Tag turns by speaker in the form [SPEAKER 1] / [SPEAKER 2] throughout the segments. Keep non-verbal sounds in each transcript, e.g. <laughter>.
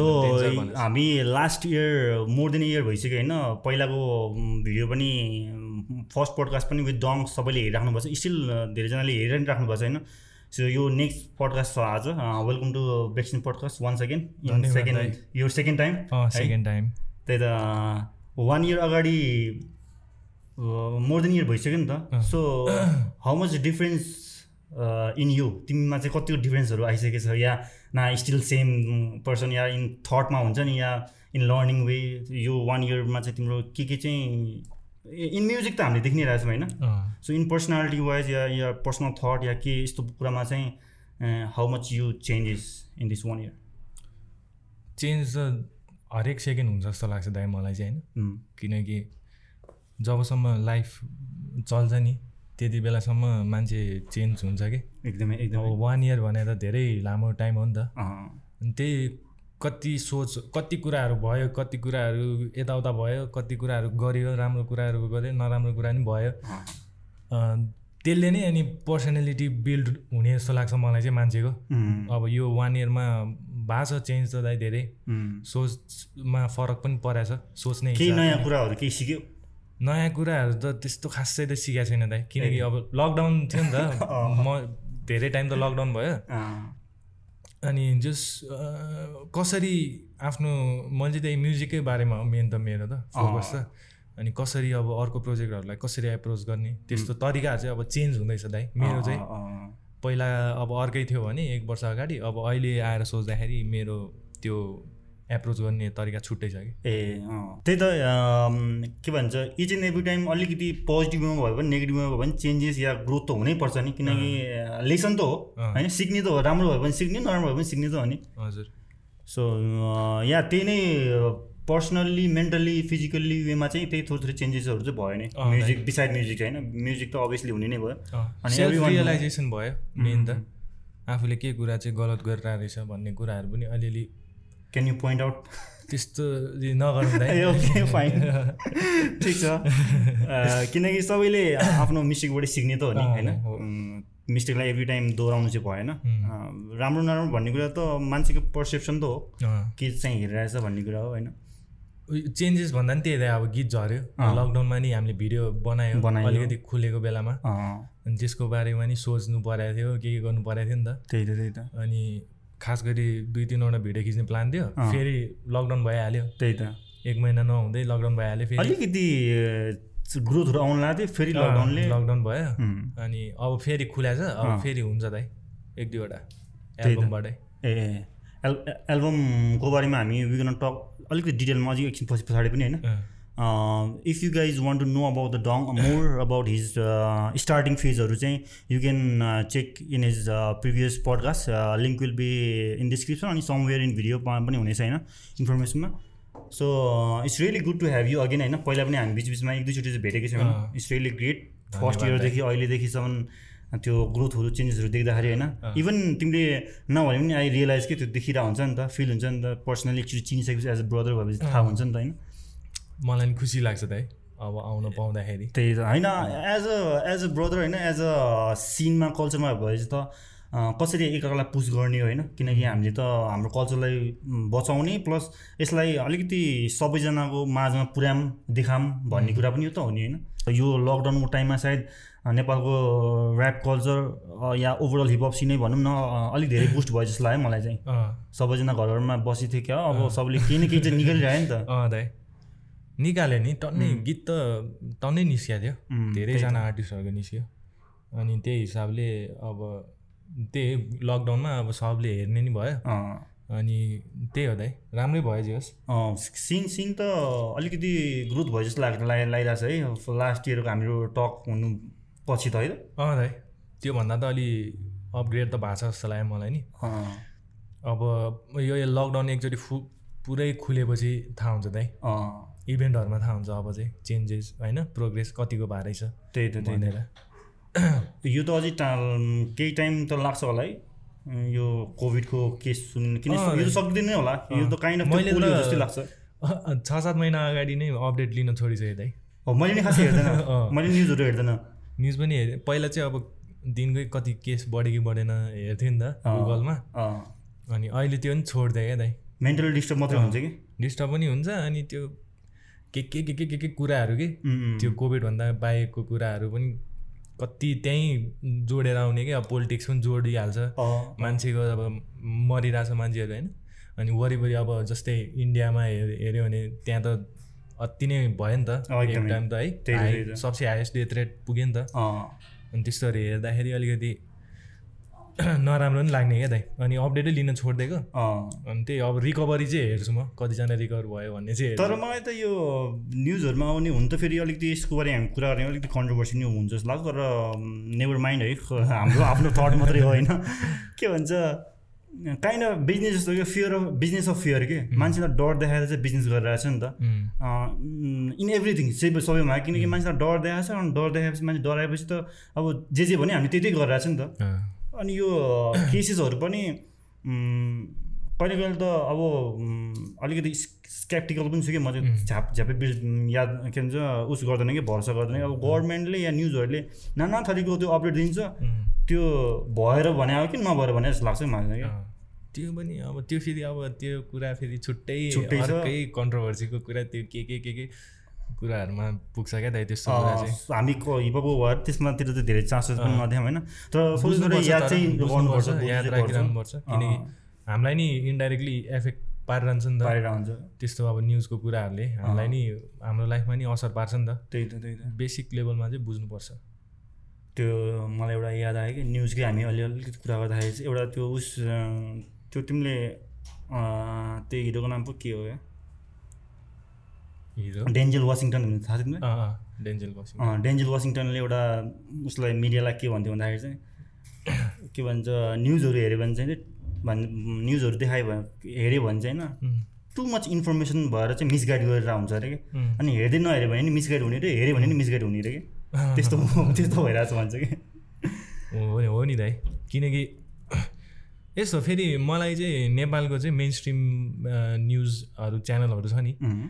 [SPEAKER 1] चाहिँ हामी last year more than year भइसक्यो होइन पहिलाको भिडियो पनि फर्स्ट पोडकास्ट पनि विथ डङ सबैले हेरिराख्नु छ स्टिल धेरैजनाले हेरिरहनु राख्नुपर्छ होइन सो यो नेक्स्ट पडकास्ट छ आज welcome to vaccine podcast one second in second यो सेकेन्ड टाइम
[SPEAKER 2] सेकेन्ड टाइम
[SPEAKER 1] त्यही त वान इयर अगाडि मोर देन इयर भइसक्यो नि त so how much difference in you तिमीमा चाहिँ कतिको डिफ्रेन्सहरू आइसकेको छ या न स्टिल सेम पर्सन या इन थटमा हुन्छ नि या इन लर्निङ वे यो वान इयरमा चाहिँ तिम्रो के के चाहिँ इन म्युजिक त हामीले देखि नै रहेछौँ होइन सो इन पर्सनालिटी वाइज या या पर्सनल थट या के यस्तो कुरामा चाहिँ how much you changes in this one year
[SPEAKER 2] change त हरेक सेकेन्ड हुन्छ जस्तो लाग्छ दाइ मलाई चाहिँ होइन किनकि जबसम्म लाइफ चल्छ नि त्यति बेलासम्म मान्छे चेन्ज हुन्छ कि
[SPEAKER 1] एकदमै एकदमै
[SPEAKER 2] वान इयर भनेर धेरै लामो टाइम हो नि त अनि त्यही कति सोच कति कुराहरू भयो कति कुराहरू यताउता भयो कति कुराहरू गऱ्यो राम्रो कुराहरू गऱ्यो नराम्रो कुरा नि भयो त्यसले नै अनि पर्सनालिटी बिल्ड हुने जस्तो लाग्छ मलाई चाहिँ मान्छेको अब यो वान इयरमा भएको छ चेन्ज त दाइ धेरै सोचमा फरक पनि परेछ सोच्ने
[SPEAKER 1] केही नयाँ कुराहरू केही सिक्यो
[SPEAKER 2] नयाँ कुराहरू त त्यस्तो खासै त सिकाएको छैन दाइ किनकि अब लकडाउन थियो
[SPEAKER 1] <laughs>
[SPEAKER 2] नि त म धेरै टाइम त लकडाउन भयो अनि जस कसरी आफ्नो मैले त्यही म्युजिकै बारेमा मेन त मेरो त फोकस छ अनि कसरी अब अर्को प्रोजेक्टहरूलाई कसरी एप्रोच गर्ने त्यस्तो तरिकाहरू चाहिँ अब चेन्ज हुँदैछ दाइ मेरो चाहिँ पहिला अब अर्कै थियो भने एक वर्ष अगाडि अब अहिले आएर सोच्दाखेरि मेरो त्यो एप्रोच गर्ने तरिका छुट्टै छ कि
[SPEAKER 1] ए त्यही त um, के भन्छ इच एन्ड एभ्री टाइम अलिकति पोजिटिभमा भयो भने नेगेटिभमा भयो भने चेन्जेस या ग्रोथ त हुनैपर्छ नि किनकि लेसन त हो होइन सिक्ने त हो राम्रो भयो भने सिक्ने नराम्रो भयो भने सिक्ने त हो नि
[SPEAKER 2] हजुर
[SPEAKER 1] सो या त्यही नै पर्सनल्ली मेन्टल्ली फिजिकल्ली वेमा चाहिँ त्यही थोरै थोरै चेन्जेसहरू चाहिँ भयो नि म्युजिक बिसाइड म्युजिक होइन म्युजिक त अभियसली हुने नै भयो
[SPEAKER 2] अनि Mm-hmm. रियलाइजेसन भयो मेन त आफूले के कुरा चाहिँ गलत गरिरहेको रहेछ भन्ने कुराहरू पनि अलिअलि
[SPEAKER 1] क्यान यु पोइन्ट आउट
[SPEAKER 2] त्यस्तो <laughs>
[SPEAKER 1] <laughs>
[SPEAKER 2] नगर्नु
[SPEAKER 1] ओके फाइन
[SPEAKER 2] <laughs>
[SPEAKER 1] ठिक छ किनकि सबैले आफ्नो मिस्टेकबाट सिक्ने त हो नि होइन मिस्टेकलाई एभ्री टाइम दोहोऱ्याउनु चाहिँ भएन
[SPEAKER 2] Mm.
[SPEAKER 1] राम्रो नराम्रो भन्ने कुरा त मान्छेको पर्सेप्सन त हो के चाहिँ हेरिरहेछ भन्ने कुरा हो होइन
[SPEAKER 2] चेन्जेस भन्दा पनि त्यही त अब गीत झऱ्यो लकडाउनमा नि हामीले भिडियो बनायो अलिकति खुलेको बेलामा अनि त्यसको बारेमा नि सोच्नु परेको थियो के के गर्नु परेको थियो नि त
[SPEAKER 1] त्यही त त्यही त
[SPEAKER 2] अनि खास गरी दुई तिनवटा भिडियो खिच्ने प्लान थियो फेरि लकडाउन भइहाल्यो
[SPEAKER 1] त्यही त
[SPEAKER 2] एक महिना नहुँदै लकडाउन भइहाल्यो फेरि
[SPEAKER 1] अलिकति ग्रोथहरू आउनु लाग्थ्यो फेरि लकडाउनले
[SPEAKER 2] लकडाउन भयो अनि अब फेरि खुल्या छ अब फेरि हुन्छ दाइ एक दुईवटा एल्बमबाटै
[SPEAKER 1] ए एल एल्बमको बारेमा हामी विगन टक अलिकति डिटेलमा अझै एकछिन पछि पछाडि पनि होइन if you guys want to know about the Dong more about his starting फेजहरू uh, चाहिँ uh, you can check in his previous podcast link will be in description अनि समवेयर इन भिडियो पनि हुनेछ होइन इन्फर्मेसनमा so it's really good to have you again होइन पहिला पनि हामी बिच बिचमा एक दुईचोटि चाहिँ भेटेको छौँ इट्स रियली ग्रेट फर्स्ट इयरदेखि अहिलेदेखिसम्म त्यो ग्रोथहरू चेन्जेसहरू देख्दाखेरि होइन इभन तिमीले नभने पनि आई रियलाइज कि त्यो देखिरहेको हुन्छ नि त फिल हुन्छ नि त पर्सनली एकचोटि चिनिसकेपछि एज अ ब्रदर भएपछि थाहा हुन्छ नि त होइन
[SPEAKER 2] मलाई पनि खुसी लाग्छ दाइ अब आउन पाउँदाखेरि
[SPEAKER 1] त्यही त होइन as a as a brother होइन एज अ सिनमा कल्चरमा भएपछि त कसरी एकअर्कालाई पुस गर्ने होइन किनकि हामीले त हाम्रो कल्चरलाई बचाउने प्लस यसलाई अलिकति सबैजनाको माझमा पुर्याम देखाम भन्ने कुरा पनि यो त हो नि होइन यो लकडाउनको टाइममा सायद नेपालको ऱ्याप कल्चर या ओभरअल हिपहप सिनै भनौँ न अलिक धेरै बुस्ट भयो जस्तो लाग्यो मलाई चाहिँ सबैजना घर घरमा बसेको थियो क्या अब सबैले केही न केही चाहिँ निकालिरह्यो नि
[SPEAKER 2] <laughs> त दाइ निकाल्यो नि टन्नै गीत त टन्नै निस्किएको थियो धेरैजना आर्टिस्टहरूको निस्क्यो अनि त्यही हिसाबले अब त्यही लकडाउनमा अब सबले हेर्ने नि भयो अनि त्यही हो दाइ राम्रै भयो जे होस्
[SPEAKER 1] सिन सिन त अलिकति ग्रोथ भयो जस्तो लाग्छ लाइ लगाइरहेको छ है लास्ट इयरको हाम्रो टक हुनु पछि त होइन
[SPEAKER 2] अँ दाइ त्योभन्दा त अलि अपग्रेड त भएको छ जस्तो लाग्यो मलाई नि अब यो लकडाउन एकचोटि फु पुरै खुलेपछि थाहा हुन्छ दाइ इभेन्टहरूमा थाहा हुन्छ अब चाहिँ चेन्जेस होइन प्रोग्रेस कतिको भारै छ
[SPEAKER 1] त्यही त त्यही यो त अझै टा केही टाइम त लाग्छ होला है यो कोभिडको केस सुन् किन यो त सक्दैन होला यो त काहीँ
[SPEAKER 2] मैले जस्तै लाग्छ छ सात महिना अगाडि नै अपडेट लिन छोडिसकेँ दाइ
[SPEAKER 1] मैले नै खासै हेर्दैन मैले न्युजहरू हेर्दैन
[SPEAKER 2] न्युज पनि हेरेँ पहिला चाहिँ अब दिनकै कति केस बढ्यो कि बढेन हेर्थ्यो नि त गुगलमा अनि अहिले त्यो पनि छोडिदिएँ क्या दाइ
[SPEAKER 1] मेन्टल डिस्टर्ब मात्रै हुन्छ कि
[SPEAKER 2] डिस्टर्ब पनि हुन्छ अनि त्यो के के के के के के कुराहरू कि
[SPEAKER 1] उम्,
[SPEAKER 2] त्यो कोभिडभन्दा बाहेकको कुराहरू पनि कति त्यहीँ जोडेर आउने कि अब पोलिटिक्स पनि जोडिहाल्छ
[SPEAKER 1] अँ,
[SPEAKER 2] मान्छेको अब मरिरहेछ मान्छेहरू होइन अनि वरिपरि अब जस्तै इन्डियामा हेर हेऱ्यो भने त्यहाँ त अति नै भयो नि त
[SPEAKER 1] अँ,
[SPEAKER 2] एक
[SPEAKER 1] एकदमै।
[SPEAKER 2] टाइम त है
[SPEAKER 1] त्यही त,
[SPEAKER 2] हाई-
[SPEAKER 1] त्यही त।
[SPEAKER 2] सबसे हाइएस्ट डेथ रेट पुग्यो नि त
[SPEAKER 1] अँ,
[SPEAKER 2] अनि त्यस्तोहरू हेर्दाखेरि अलिकति <clears throat> नराम्रो पनि लाग्ने क्या दाइ अनि अपडेटै लिन छोडिदिएको
[SPEAKER 1] अँ।
[SPEAKER 2] अनि त्यही अब रिकभरी चाहिँ हेर्छु म कतिजना रिकभर भयो भन्ने चाहिँ
[SPEAKER 1] तर
[SPEAKER 2] हेर्छु।
[SPEAKER 1] मलाई त यो न्युजहरूमा आउने हुन त फेरि अलिकति यसको बारे हामी कुरा गर्ने अलिकति कन्ट्रोभर्सी नै हुन्छ जस्तो लाग्छ तर नेभर माइन्ड है ख- हाम्रो आफ्नो थट मात्रै हो होइन <laughs> के भन्छ काइन्ड अफ बिजनेस जस्तो क्या fear of business of fear के मान्छेलाई डर देखाएर चाहिँ बिजनेस गरिरहेछ नि त
[SPEAKER 2] उम्,
[SPEAKER 1] इन एभ्रिथिङ सबै सबैमा किनकि मान्छेलाई डर देखाएको छ अनि डर देखाएपछि मान्छे डराएपछि त अब जे जे भन्यो हामीले त्यही गरिरहेको छ नि त
[SPEAKER 2] अँ,
[SPEAKER 1] अनि यो केसेसहरू पनि उम्, कहिले कहिले त अब उम्, अलिकति स्केप्टिकल पनि छु कि म चाहिँ झ्याप झ्यापै बिल- उम्, याद के भन्छ उस गर्दैन कि भरोसा गर्दैन अब गभर्मेन्टले या न्युजहरूले नाना थरीको त्यो अपडेट दिन्छ
[SPEAKER 2] उम्,
[SPEAKER 1] त्यो भएर भने हो कि नभएर भने जस्तो लाग्छ कि मलाई
[SPEAKER 2] अँ। त्यो पनि अब त्यो फेरि अब त्यो कुरा फेरि छुट्टै
[SPEAKER 1] छुट्टै छ।
[SPEAKER 2] अर्कै कन्ट्रोभर्सीको कुरा त्यो के के के के कुराहरूमा पुग्छ क्या दाइ त्यस्तो कुरा चाहिँ
[SPEAKER 1] अँ, हामी क- हिपहपको भएर त्यसमातिर त धेरै चान्सेस पनि नदियौँ होइन तर थोरै थोरै
[SPEAKER 2] बुझ्नुपर्छ
[SPEAKER 1] याद
[SPEAKER 2] तर,
[SPEAKER 1] चाहिँ गर्नुपर्छ
[SPEAKER 2] बुझ्नुपर्छ,
[SPEAKER 1] बुझ्नु
[SPEAKER 2] याद
[SPEAKER 1] चाहिँ पर्छ।
[SPEAKER 2] राखिरहनुपर्छ किनकि हामीलाई नि इन्डाइरेक्टली एफेक्ट पारिरहन्छ नि त
[SPEAKER 1] बाहिर आउँछ
[SPEAKER 2] त्यस्तो अब न्युजको कुराहरूले हामीलाई नि हाम्रो लाइफमा नि असर पार्छ नि त
[SPEAKER 1] त्यही त त्यही त
[SPEAKER 2] बेसिक लेभलमा चाहिँ बुझ्नुपर्छ
[SPEAKER 1] त्यो मलाई एउटा याद आयो कि न्युजकै हामी अलि अलिकति कुरा गर्दाखेरि चाहिँ एउटा त्यो उस अँ, त्यो तिमीले अँ, त्यो हिरोको नाम पो के हो या
[SPEAKER 2] हिरो
[SPEAKER 1] डेन्जेल वासिङटन भन्ने थाहा थियो तिमीलाई
[SPEAKER 2] अँ अँ, डेन्जेल बसिङ
[SPEAKER 1] अँ, डेन्जेल वासिङटनले एउटा उसलाई मिडियालाई के भन्थ्यो भन्दाखेरि चाहिँ के भन्छ न्युजहरू हेऱ्यो भने चाहिँ भन् न्युजहरू देखायो भने हेऱ्यो भने चाहिँ होइन
[SPEAKER 2] उम्,
[SPEAKER 1] टु मच इन्फर्मेसन भएर चाहिँ मिसगाइड गरेर हुन्छ अरे कि
[SPEAKER 2] उम्,
[SPEAKER 1] अनि हेर्दै नहेऱ्यो भने नि मिसगाइड हुने रे हेऱ्यो भने नि मिसगाइड हुने
[SPEAKER 2] <laughs>
[SPEAKER 1] रे कि
[SPEAKER 2] अँ,
[SPEAKER 1] त्यस्तो त्यस्तो भइरहेको छ भन्छ कि
[SPEAKER 2] हो नि हो नि दाइ किनकि यस्तो फेरि मलाई चाहिँ नेपालको चाहिँ मेन स्ट्रिम न्युजहरू च्यानलहरू छ नि
[SPEAKER 1] उम्,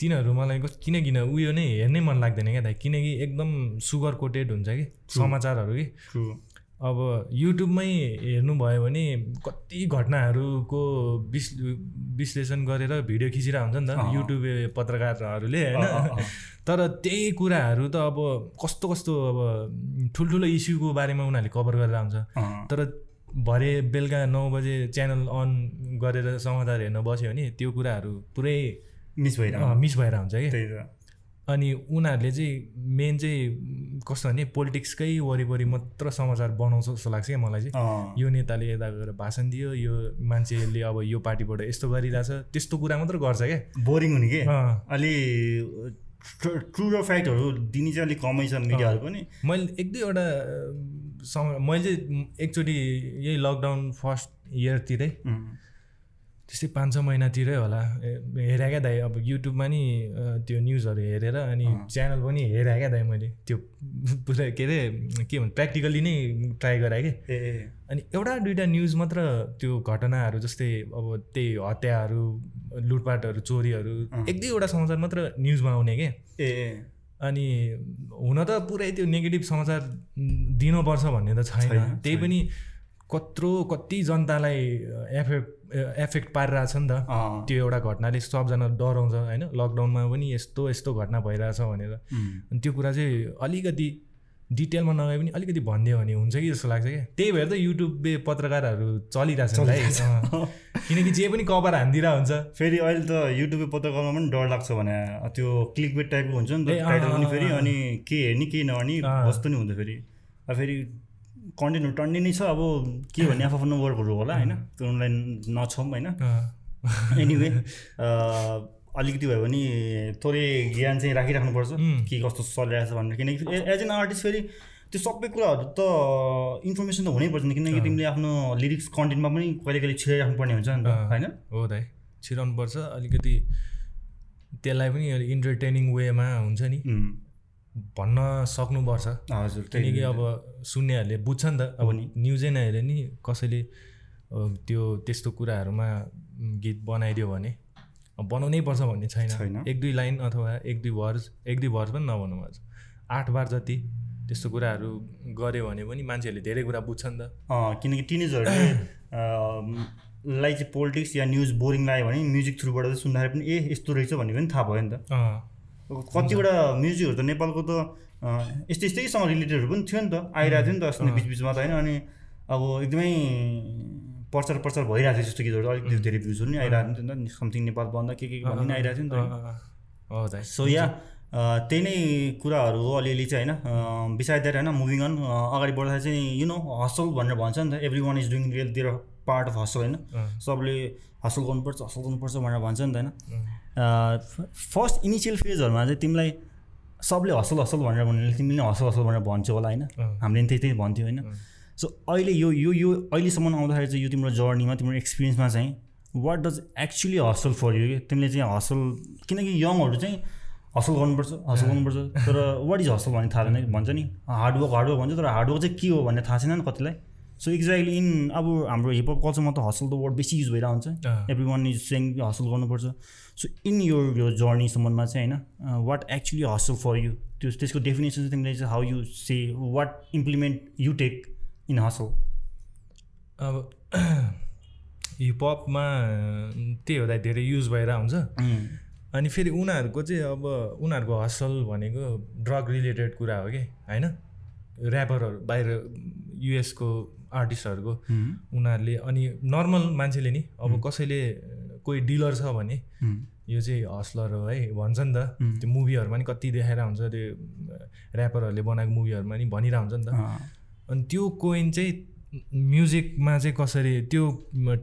[SPEAKER 2] तिनीहरू मलाई कस- किन किन उयो नै हेर्नै मन लाग्दैन क्या दाइ किनकि एकदम सुगर कोटेड हुन्छ कि समाचारहरू कि
[SPEAKER 1] true।
[SPEAKER 2] अब युट्युबमै हेर्नुभयो भने कति घटनाहरूको विश् विश्लेषण गरेर भिडियो खिचिरहेको हुन्छ नि त
[SPEAKER 1] अँ।
[SPEAKER 2] युट्युब पत्रकारहरूले
[SPEAKER 1] अँ, अँ,
[SPEAKER 2] होइन
[SPEAKER 1] अँ।
[SPEAKER 2] तर त्यही कुराहरू त अब कस्तो कस्तो अब ठुल्ठुलो इस्युको बारेमा उनीहरूले कभर गरेर आउँछ
[SPEAKER 1] अँ,
[SPEAKER 2] तर भरे बेलुका नौ बजे च्यानल अन गरेर समाचार हेर्न बस्यो भने त्यो कुराहरू पुरै
[SPEAKER 1] मिस भइरहेको
[SPEAKER 2] अँ, मिस भएर हुन्छ कि
[SPEAKER 1] त्यही त
[SPEAKER 2] अनि उनीहरूले चाहिँ मेन चाहिँ कस्तो भने पोलिटिक्सकै वरिपरि मात्र समाचार बनाउँछ जस्तो लाग्छ क्या मलाई चाहिँ
[SPEAKER 1] अँ,
[SPEAKER 2] यो नेताले यता गएर भाषण दियो यो मान्छेले अब यो पार्टीबाट यस्तो गरिरहेछ त्यस्तो कुरा मात्र गर्छ क्या
[SPEAKER 1] बोरिङ हुने कि
[SPEAKER 2] अँ,
[SPEAKER 1] अलि ट्रु र फ्याक्टहरू दिने चाहिँ अलिक कमै छ
[SPEAKER 2] Ah.
[SPEAKER 1] मिडियाहरू पनि
[SPEAKER 2] मैले एक दुईवटा अ, सम मैले चाहिँ एकचोटि यही लकडाउन फर्स्ट इयरतिरै
[SPEAKER 1] उम्,
[SPEAKER 2] त्यस्तै पाँच छ महिनातिरै होला ए- हेरेँ क्या दाइ अब युट्युबमा नि अ, त्यो न्युजहरू हेरेर अनि च्यानल पनि हेरेँ क्या दाइ मैले त्यो <laughs> पुरा के अरे के भन्छ प्र्याक्टिकल्ली नै ट्राई गराएँ कि
[SPEAKER 1] ए
[SPEAKER 2] अनि एउटा दुइटा न्युज मात्र त्यो घटनाहरू जस्तै अब त्यही हत्याहरू लुटपाटहरू चोरीहरू
[SPEAKER 1] अँ।
[SPEAKER 2] एक दुईवटा समाचार मात्र न्युजमा आउने के
[SPEAKER 1] ए
[SPEAKER 2] अनि हुन त पुरै त्यो नेगेटिभ समाचार दिनुपर्छ भन्ने त
[SPEAKER 1] छैन,
[SPEAKER 2] छैन त्यही
[SPEAKER 1] छैन।
[SPEAKER 2] पनि कत्रो कति जनतालाई एफेक्ट एफेक्ट पारिरहेछ नि त
[SPEAKER 1] अँ,
[SPEAKER 2] त्यो एउटा घटनाले सबजना डराउँछ होइन लकडाउनमा पनि यस्तो यस्तो घटना भइरहेछ भनेर
[SPEAKER 1] उम्,
[SPEAKER 2] अनि त्यो कुरा चाहिँ अलिकति डिटेलमा नगए पनि अलिकति भनिदियो भने हुन्छ कि जस्तो लाग्छ क्या त्यही भएर त युट्युबे पत्रकारहरू चलिरहेछ नि त है अँ। किनकि जे पनि कभर हानिदिएर हुन्छ
[SPEAKER 1] फेरि अहिले त युट्युबे पत्रकारमा पनि डर लाग्छ भने त्यो क्लिक बेट टाइपको हुन्छ नि त
[SPEAKER 2] ए, अँ,
[SPEAKER 1] टाइटल पनि
[SPEAKER 2] अँ,
[SPEAKER 1] फेरि
[SPEAKER 2] अँ,
[SPEAKER 1] अनि के हेर्ने के नहेर्ने
[SPEAKER 2] अँ।
[SPEAKER 1] वस्तु नि हुन्छ फेरि अब फेरि कन्टेन्टहरू टन्डे नै छ अब के भन्ने आफू आफ्नो वर्कहरू होला होइन
[SPEAKER 2] Mm.
[SPEAKER 1] त्यो अनलाइन नछौँ होइन
[SPEAKER 2] अँ।
[SPEAKER 1] <laughs>
[SPEAKER 2] <laughs>
[SPEAKER 1] एनिवे uh, अलिकति भयो भने थोरै ज्ञान चाहिँ राखिराख्नुपर्छ
[SPEAKER 2] उम्.
[SPEAKER 1] के कस्तो चलिरहेको छ भनेर किनकि ए- एज एन आर्टिस्ट फेरि त्यो सबै कुराहरू त इन्फर्मेसन त हुनै पर्छ नि किनकि तिमीले आफ्नो लिरिक्स कन्टेन्टमा पनि कहिले कहिले छिराइराख्नु पर्ने हुन्छ नि त
[SPEAKER 2] अँ।
[SPEAKER 1] होइन
[SPEAKER 2] हो दाइ छिराउनुपर्छ अलिकति त्यसलाई पनि अलिक इन्टरटेनिङ वेमा हुन्छ नि
[SPEAKER 1] उम्,
[SPEAKER 2] भन्न सक्नुपर्छ
[SPEAKER 1] हजुर त्यही
[SPEAKER 2] किनकि अब सुन्नेहरूले बुझ्छ नि त अब
[SPEAKER 1] हो नि।
[SPEAKER 2] न्युजै नहेरे नि कसैले अ, त्यो त्यस्तो कुराहरूमा म, गीत बनाइदियो भने अब बनाउनै पर्छ भन्ने छैन
[SPEAKER 1] छैन।
[SPEAKER 2] एक दुई लाइन अथवा एक दुई वर्स एक दुई वर्स पनि नभन्नु भएको छ आठ बार जति त्यस्तो कुराहरू गऱ्यो भने पनि मान्छेहरूले धेरै कुरा बुझ्छ नि त <clears throat>
[SPEAKER 1] अँ, किनकि टिनेजहरूले लाई चाहिँ पोलिटिक्स या न्युज बोरिङ लाग्यो भने म्युजिक थ्रुबाट चाहिँ सुन्दाखेरि पनि ए यस्तो रहेछ भन्ने पनि थाहा भयो नि त कतिवटा म्युजिकहरू त नेपालको त यस्तै यस्तैसँग रिलेटेडहरू पनि थियो नि त आइरहेको थियो नि त अस्ति बिचबिचमा त होइन अनि अब एकदमै प्रचार प्रचार भइरहेको थियो जस्तो गीतहरू अलिकति धेरै भ्युजहरू पनि आइरहेको थियो नि त समथिङ नेपाल बन्द के के भन्ने पनि आइरहेको थियो नि त सो या त्यही नै कुराहरू अलिअलि चाहिँ होइन बिसाइद द्याट होइन मुभिङ अन अगाडि बढ्दाखेरि चाहिँ यु नो हसल भनेर भन्छ नि त every one is doing real their part of hustle होइन सबले हसल गर्नुपर्छ हसल गर्नुपर्छ भनेर भन्छ नि त होइन फर्स्ट इनिसियल फेजहरूमा चाहिँ तिमीलाई सबले हसल हसल भनेर भन्ने तिमीले हसल हसल भनेर भन्थ्यो होला होइन हामीले पनि त्यही भन्थ्यो होइन सो अहिले यो यो यो अहिलेसम्म आउँदाखेरि चाहिँ यो तिम्रो जर्नीमा तिम्रो एक्सपिरियन्समा चाहिँ what does actually hustle for you तिमीले चाहिँ हसल किनकि यङहरू चाहिँ हसल गर्नुपर्छ हसल गर्नुपर्छ तर वाट इज हसल भन्ने थाहा छैन भन्छ नि हार्डवर्क हार्डवर्क भन्छ तर हार्डवर्क चाहिँ के हो भन्ने थाहा छैन नि कतिलाई सो एक्ज्याक्टली इन अब हाम्रो हिपहप कल्चरमा त हसल द वर्ड बेसी युज भइरहेको हुन्छ every one is saying hustle गर्नुपर्छ सो इन यो यो जर्नीसम्ममा चाहिँ होइन uh, what actually hustle for you त्यो त्यसको डेफिनेसन चाहिँ तिमीले चाहिँ how you say what implement you take in hustle
[SPEAKER 2] अब <clears throat> हिपहपमा त्यही होला धेरै युज भएर हुन्छ Mm, अनि फेरि उनीहरूको चाहिँ अब उनीहरूको हसल भनेको ड्रग रिलेटेड कुरा हो कि होइन ऱ्यापरहरू बाहिर युएसको आर्टिस्टहरूको उनीहरूले अनि नर्मल मान्छेले नि अब कसैले कोही डिलर छ भने यो चाहिँ हस्लर हो है भन्छ नि त त्यो मुभीहरूमा नि कति देखाएर हुन्छ त्यो ऱ्यापरहरूले बनाएको मुभीहरूमा नि भनिरहेको हुन्छ नि त
[SPEAKER 1] Uh,
[SPEAKER 2] अनि त्यो कोइन चाहिँ म्युजिकमा चाहिँ कसरी त्यो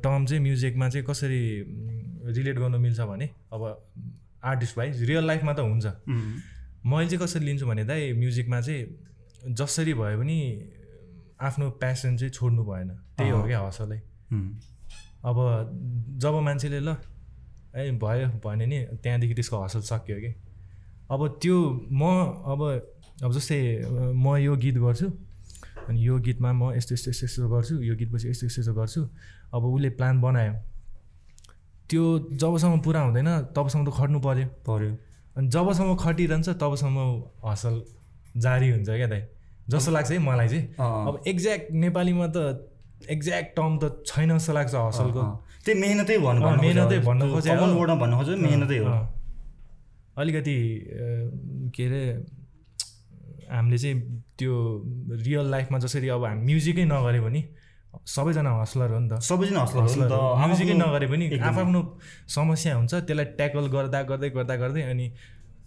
[SPEAKER 2] टर्म चाहिँ म्युजिकमा चाहिँ कसरी रिलेट गर्नु मिल्छ भने अब आर्टिस्ट वाइज रियल लाइफमा त हुन्छ मैले चाहिँ कसरी लिन्छु भने त म्युजिकमा चाहिँ जसरी भए पनि आफ्नो प्यासन चाहिँ छोड्नु भएन त्यही हो क्या हसलै अब जब मान्छेले ल है भयो भने नि त्यहाँदेखि त्यसको हसल सक्यो कि अब त्यो म अब अब जस्तै म यो गीत गर्छु अनि यो गीतमा म यस्तो यस्तो यस्तो यस्तो गर्छु यो गीतपछि यस्तो यस्तो यस्तो गर्छु अब उसले प्लान बनायो त्यो जबसम्म पुरा हुँदैन तबसम्म त खट्नु पऱ्यो
[SPEAKER 1] पऱ्यो
[SPEAKER 2] अनि जबसम्म खटिरहन्छ तबसम्म हसल जारी हुन्छ क्या दाइ जस्तो लाग्छ है मलाई चाहिँ अब एक्ज्याक्ट नेपालीमा त एक्ज्याक्ट टर्म त छैन जस्तो लाग्छ हसलको
[SPEAKER 1] त्यही मेहनतै भन्नु
[SPEAKER 2] मेहनतै भन्नु खोजेर
[SPEAKER 1] भन्नु खोजेको मेहनतै हो
[SPEAKER 2] अलिकति के अरे हामीले चाहिँ त्यो रियल लाइफमा जसरी अब हामी म्युजिकै नगऱ्यो भने सबैजना हस्लर हो नि त
[SPEAKER 1] सबैजना हस्लर
[SPEAKER 2] म्युजिकै नगरे पनि आफ्नो समस्या हुन्छ त्यसलाई ट्याकल गर्दा गर्दै गर्दा गर्दै अनि